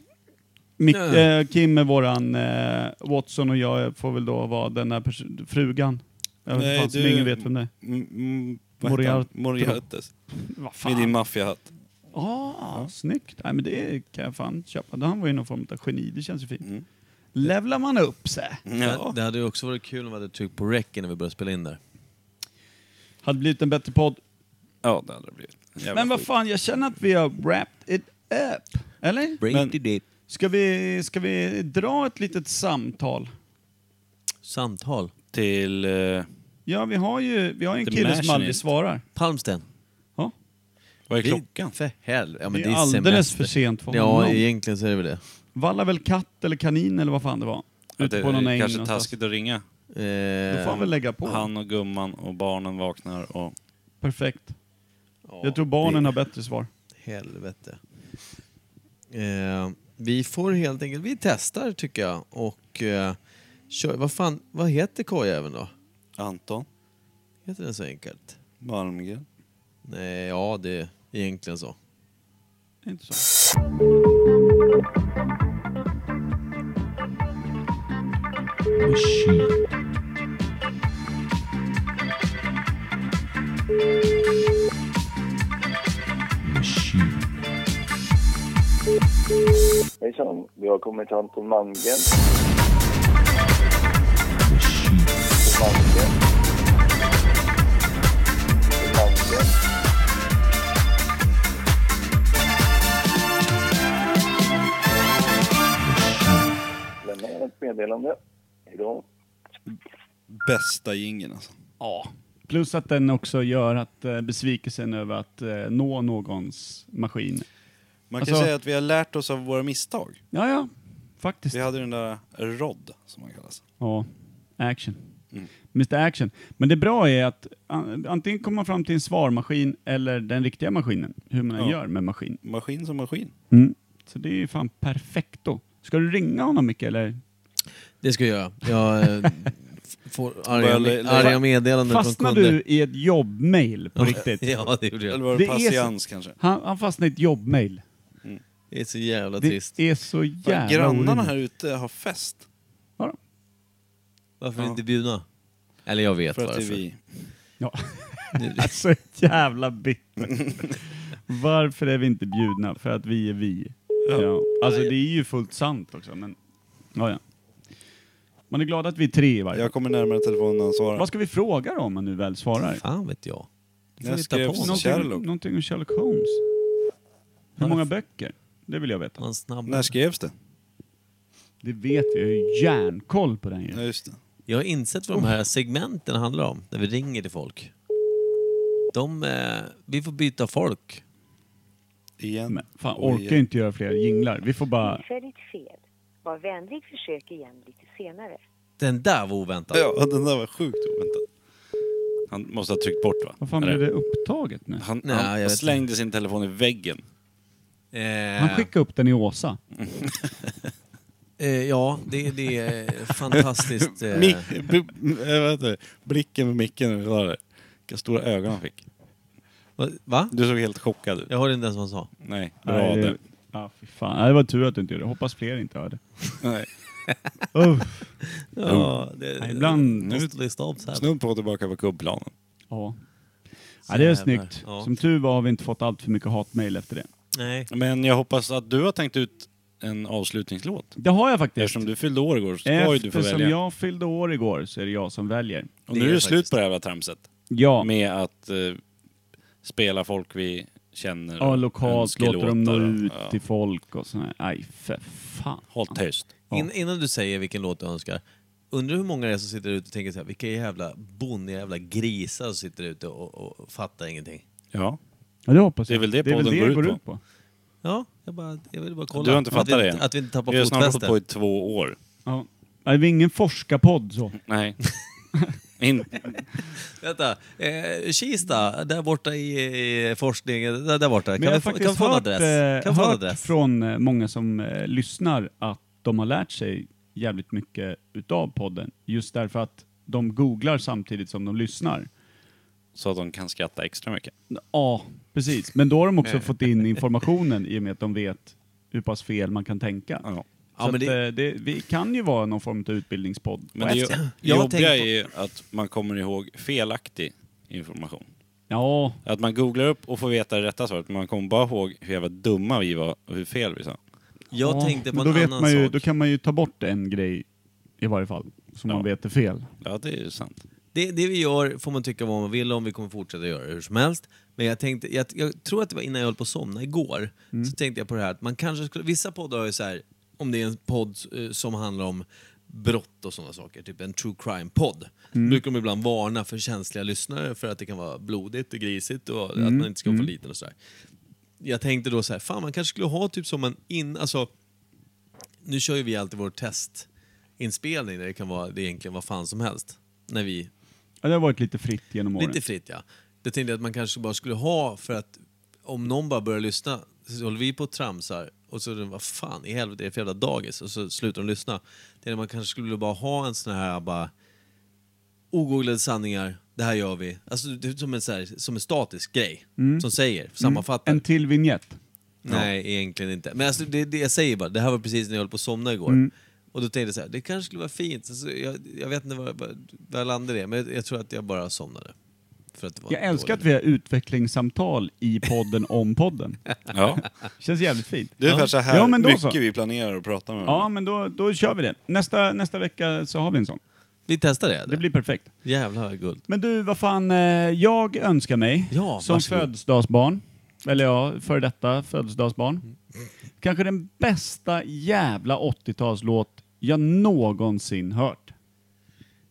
A: Mick,
C: Ja.
A: eh, Kim är våran eh, Watson och jag får väl då vara den där pers- frugan. Jag vet
B: Nej,
A: fan, som
B: du-
A: ingen vet vem det är.
B: Mm, mm, vad heter han?
A: Moriarty.
B: Moriartes.
A: Vad
B: Med din
A: fan?
B: maffiahatt.
A: Ah, Snyggt. Nej, men det kan jag fan köpa. Han var ju någon form av geni, det känns ju fint.
B: Mm.
A: Levlar man upp sig.
C: Det,
B: Ja.
C: det hade ju också varit kul om vi hade tryckt på rec när vi började spela in där.
A: Hade blivit en bättre podd.
B: ja, det hade det blivit. Jävla
A: men vad
B: skit.
A: fan, jag känner att vi har wrapped it up. Eller?
B: Men-
C: Men...
A: Ska vi, ska vi dra ett litet samtal?
C: Samtal.
B: Till... Eh,
A: Ja, vi har ju, vi har ju en
B: The
A: kille som
B: Machinist.
A: aldrig svarar.
C: Palmsten.
A: Ja.
B: vad är klockan?
C: För helvete. Ja, men
A: Det
C: det
A: är
C: är
A: alldeles
C: semester.
A: för sent för honom.
C: Ja, egentligen så är det väl det.
A: Vallar väl katt eller kanin eller vad fan det var?
B: Ja,
A: Ute
B: det
A: på någon
B: är
A: äng
B: kanske
A: någonstans.
B: taskigt att ringa.
A: Då
C: Eh,
A: får han väl lägga på.
B: Han och gumman och barnen vaknar och...
A: Perfekt. Jag tror barnen har bättre svar.
C: Helvete. Eh, vi får helt enkelt, vi testar tycker jag och eh, kör, vad fan, vad heter kojäveln då?
B: Anton
C: Heter den så enkelt?
B: Malmgren.
C: Nej, ja det är egentligen så.
A: Det är inte så.
F: Hejsan, vi har kommit till Anton Malmgren. Malmgren. Malmgren. Lämna gärna ett meddelande. Hejdå.
B: Bästa jingeln alltså.
A: Ja. Plus att den också gör att eh, besvikelsen över att eh, nå någons maskin.
B: Man kan
A: Alltså-
B: säga att vi har lärt oss av våra misstag.
A: Ja, ja. Faktiskt.
B: Vi hade den där Rod, som han kallas.
A: Ja, action.
B: Mm.
A: Mr Action. Men det bra är att an- antingen kommer man fram till en svarmaskin eller den riktiga maskinen. Hur man
B: Ja.
A: gör med maskin.
B: Maskin som maskin.
A: Så det är ju fan perfekto. Ska du ringa honom mycket eller?
C: Det ska jag göra. Jag eh, f- får arga,
B: Börjar le- le-
C: arga meddelanden från
A: Fastnar
C: kunder.
A: du i ett jobbmail på riktigt?
C: Ja, det gjorde
B: Eller
C: jag.
B: var
A: Det
B: det
A: är så-
B: patiens kanske?
A: Han, han fastnar i ett jobbmail.
C: Det är så jävla
A: Det
C: trist.
A: är så jävla
B: Grannarna
A: orimligt.
B: här ute har fest.
A: Ja, då.
C: Varför
B: Ja.
C: inte bjudna? Eller jag vet
B: För att
C: varför.
B: det är vi.
A: Ja.
C: Nu-
A: Alltså jävla bitter. Varför är vi inte bjudna? För att vi är vi. Ja. Alltså det är ju fullt sant också men... Ja, ja. Man är glad att vi är tre i varje fall.
B: Jag kommer närmare telefonen när han svarar.
A: Vad ska vi fråga då om man nu väl svarar?
C: Fan vet jag. Det får
B: Jag
C: vi ta
B: skrev
C: på oss.
B: någon-
A: Någonting,
B: Sherlock.
A: någonting om Sherlock Holmes. Hur många böcker? Det vill jag veta.
C: Man snabb...
B: När skrevs det?
A: Det vet vi, jag har ju järnkoll på den
B: Ja,
A: ju.
B: just det.
C: Jag har insett vad de
B: Oh.
C: här segmenten handlar om, när vi ringer till folk. De, eh, vi får byta folk.
B: Igen.
A: Men fan,
B: Och
A: orkar
B: igen.
A: inte göra fler jinglar. Vi får bara...
G: Tillfälligt fel. Var vänlig försök igen lite senare.
C: Den där var oväntad.
B: Ja, den där var sjukt oväntad. Han måste ha tryckt bort va?
A: Vad fan blev
B: Eller?
A: det upptaget nu?
B: Han,
C: Nej, jag
B: han
C: vet
B: slängde sin telefon i väggen.
C: Eh,
A: Han skickade upp den i Åsa.
C: eh, ja, det, det är fantastiskt. Eh,
B: Mick, b- jag vet inte, blicken med micken när vi sa det. Vilka stora ögon han fick.
C: vad- Va?
B: Du såg helt chockad ut.
C: Jag hörde inte ens vad han sa.
B: Nej, bra
A: Nej,
B: det.
A: det... Ja, fy fan. Nej, det var tur att du inte gjorde det. Hoppas fler inte hörde.
B: Nej.
A: Uff.
C: Ja, det,
A: Nej, ibland-
C: måste lista av så här.
B: Snudd på tillbaka på kubbplanen.
A: Ja. ja, det är
C: Jävlar.
A: snyggt.
C: Ja.
A: Som tur var har vi inte fått allt för mycket hatmejl efter det.
C: Nej.
B: Men jag hoppas att du har tänkt ut en avslutningslåt.
A: Det har jag faktiskt.
B: Eftersom du fyllde år igår så ska ju du få
A: Eftersom
B: välja.
A: jag fyllde år igår så är det jag som väljer.
B: Och nu
C: Det
B: är
C: är
B: det slut
C: faktiskt-
B: på det här jävla tramset.
A: Ja,
B: Med att eh, spela folk vi känner.
A: ja
B: och
A: lokalt låter de nå
B: önskelåtar och-
A: ut
B: ja.
A: till folk och sådär. Nej, för fan.
B: Håll tyst.
C: In, innan du säger vilken låt du önskar, undrar hur många det är som sitter ute och tänker så här, vilka jävla bonniga jävla grisar som sitter ute och, och fattar ingenting.
B: Ja.
A: Ja, det hoppas jag.
B: Det är väl det podden går ut på.
C: Ja, jag, bara, jag vill bara kolla.
B: Du har inte fattat
C: att vi,
B: det än.
C: Att vi inte tappar
B: Vi har snart hållit
C: fotfästet.
B: på i två år.
A: Ja. Nej, det är ingen forskarpodd så.
B: Nej. In,
C: Vänta, eh, Kista, där borta i, i forskningen, där, där borta.
A: Men
C: Kan
A: jag har
C: vi få, kan vi
A: faktiskt
C: få en
A: hört,
C: adress?
A: eh,
C: Kan vi få en
A: hört
C: adress?
A: från eh, många som eh, lyssnar att de har lärt sig jävligt mycket utav podden. Just därför att de googlar samtidigt som de lyssnar.
B: så att de kan skratta extra mycket.
A: Ja, precis. Men då har de också fått in informationen i och med att de vet hur pass fel man kan tänka.
B: Ja.
A: Så
C: Ja, men
A: att,
C: det-
A: eh, det, vi kan ju vara någon form av utbildningspodd.
B: Men
A: på
B: det
A: ett sätt.
B: jo-
C: Jag har
B: jobbiga
C: tänkt
B: är
C: på-
B: ju att man kommer ihåg felaktig information.
A: Ja,
B: Att man googlar upp och får veta det rätta svaret, men man kommer bara ihåg hur jävla dumma vi var och hur fel vi sa.
C: Jag
A: ja,
C: tänkte på
A: men
C: en
A: då vet
C: annan
A: man ju,
C: sak.
A: Då kan man ju ta bort en grej i varje fall, som
B: Ja.
A: man vet är fel.
B: Ja, det är ju sant.
C: Det, det vi gör får man tycka vad man vill om, vi kommer fortsätta göra det hur som helst. Men jag, tänkte, jag, jag tror att det var innan jag höll på att somna igår, så tänkte jag på det här att man kanske skulle, vissa poddar har ju så här, om det är en podd eh, som handlar om brott och sådana saker, typ en true crime-podd, brukar de ibland varna för känsliga lyssnare för att det kan vara blodigt och grisigt och att man inte ska få liten och sådär. Jag tänkte då så här, fan man kanske skulle ha typ som en in, alltså nu kör ju vi alltid vår testinspelning där det kan vara det är egentligen vad fan som helst. När vi
A: Ja, det har varit lite fritt genom åren.
C: Lite fritt ja. Det tänkte jag att man kanske bara skulle ha för att om någon bara börjar lyssna så håller vi på och tramsar och så är det, vad fan i helvete är det för jävla dagis? Och så slutar de lyssna. Det är att man kanske skulle bara ha en sån här bara ogooglade sanningar, det här gör vi. Alltså det är som en, så här, som en statisk grej som säger, sammanfattar.
A: En till vignett.
C: Nej, egentligen inte. Men alltså, det, det jag säger bara, det här var precis när jag höll på att somna igår. Och då tänkte jag så här, det kanske skulle vara fint. Alltså, jag, jag vet inte var, var, var jag landade i det, men jag, jag tror att jag bara somnade. För att det var
A: Jag
C: en
A: älskar att
C: dålig-
A: vi har utvecklingssamtal i podden om podden.
B: Ja.
A: Känns jävligt fint.
B: Det är ungefär så här
A: Ja, men då
B: mycket
A: så.
B: vi planerar att prata med
A: Ja, men då, då kör vi det. Nästa, nästa vecka så har vi en sån.
C: Vi testar det.
A: Det
C: eller?
A: blir perfekt.
C: Jävlar vad guld.
A: Men du, vad fan, eh, jag önskar mig
C: Ja,
A: som
C: varsågod.
A: födelsedagsbarn, eller ja, före detta födelsedagsbarn, kanske den bästa jävla 80-talslåt jag någonsin hört.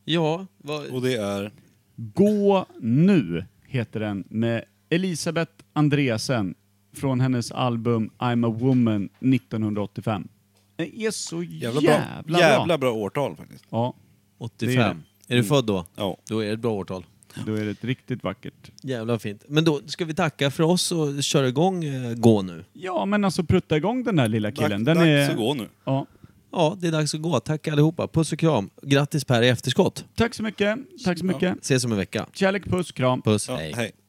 C: Ja,
B: Och det är...
A: Gå nu, heter den, med Elisabeth Andreasen från hennes album I'm a woman 1985. Den är så jävla,
B: Jävla
A: bra.
B: bra, jävla bra årtal faktiskt.
A: Ja,
C: 85.
A: det är
C: är, du född då?
B: Ja.
C: Då är det ett bra årtal.
A: då är det ett riktigt vackert
C: Jävlar fint. Men då ska vi tacka för oss och köra igång eh, Gå nu.
A: Ja, men alltså prutta igång den där lilla killen.
B: Dags,
A: den
B: dags
A: är...
B: att gå nu.
A: Ja.
C: Ja, det är dags att gå. Tack allihopa. Puss och kram. Grattis Per i efterskott.
A: Tack så mycket. Tack så mycket.
C: Ses om en vecka.
A: Kärlek, puss, kram.
C: Puss.
B: Ja,
C: hej.
B: hej.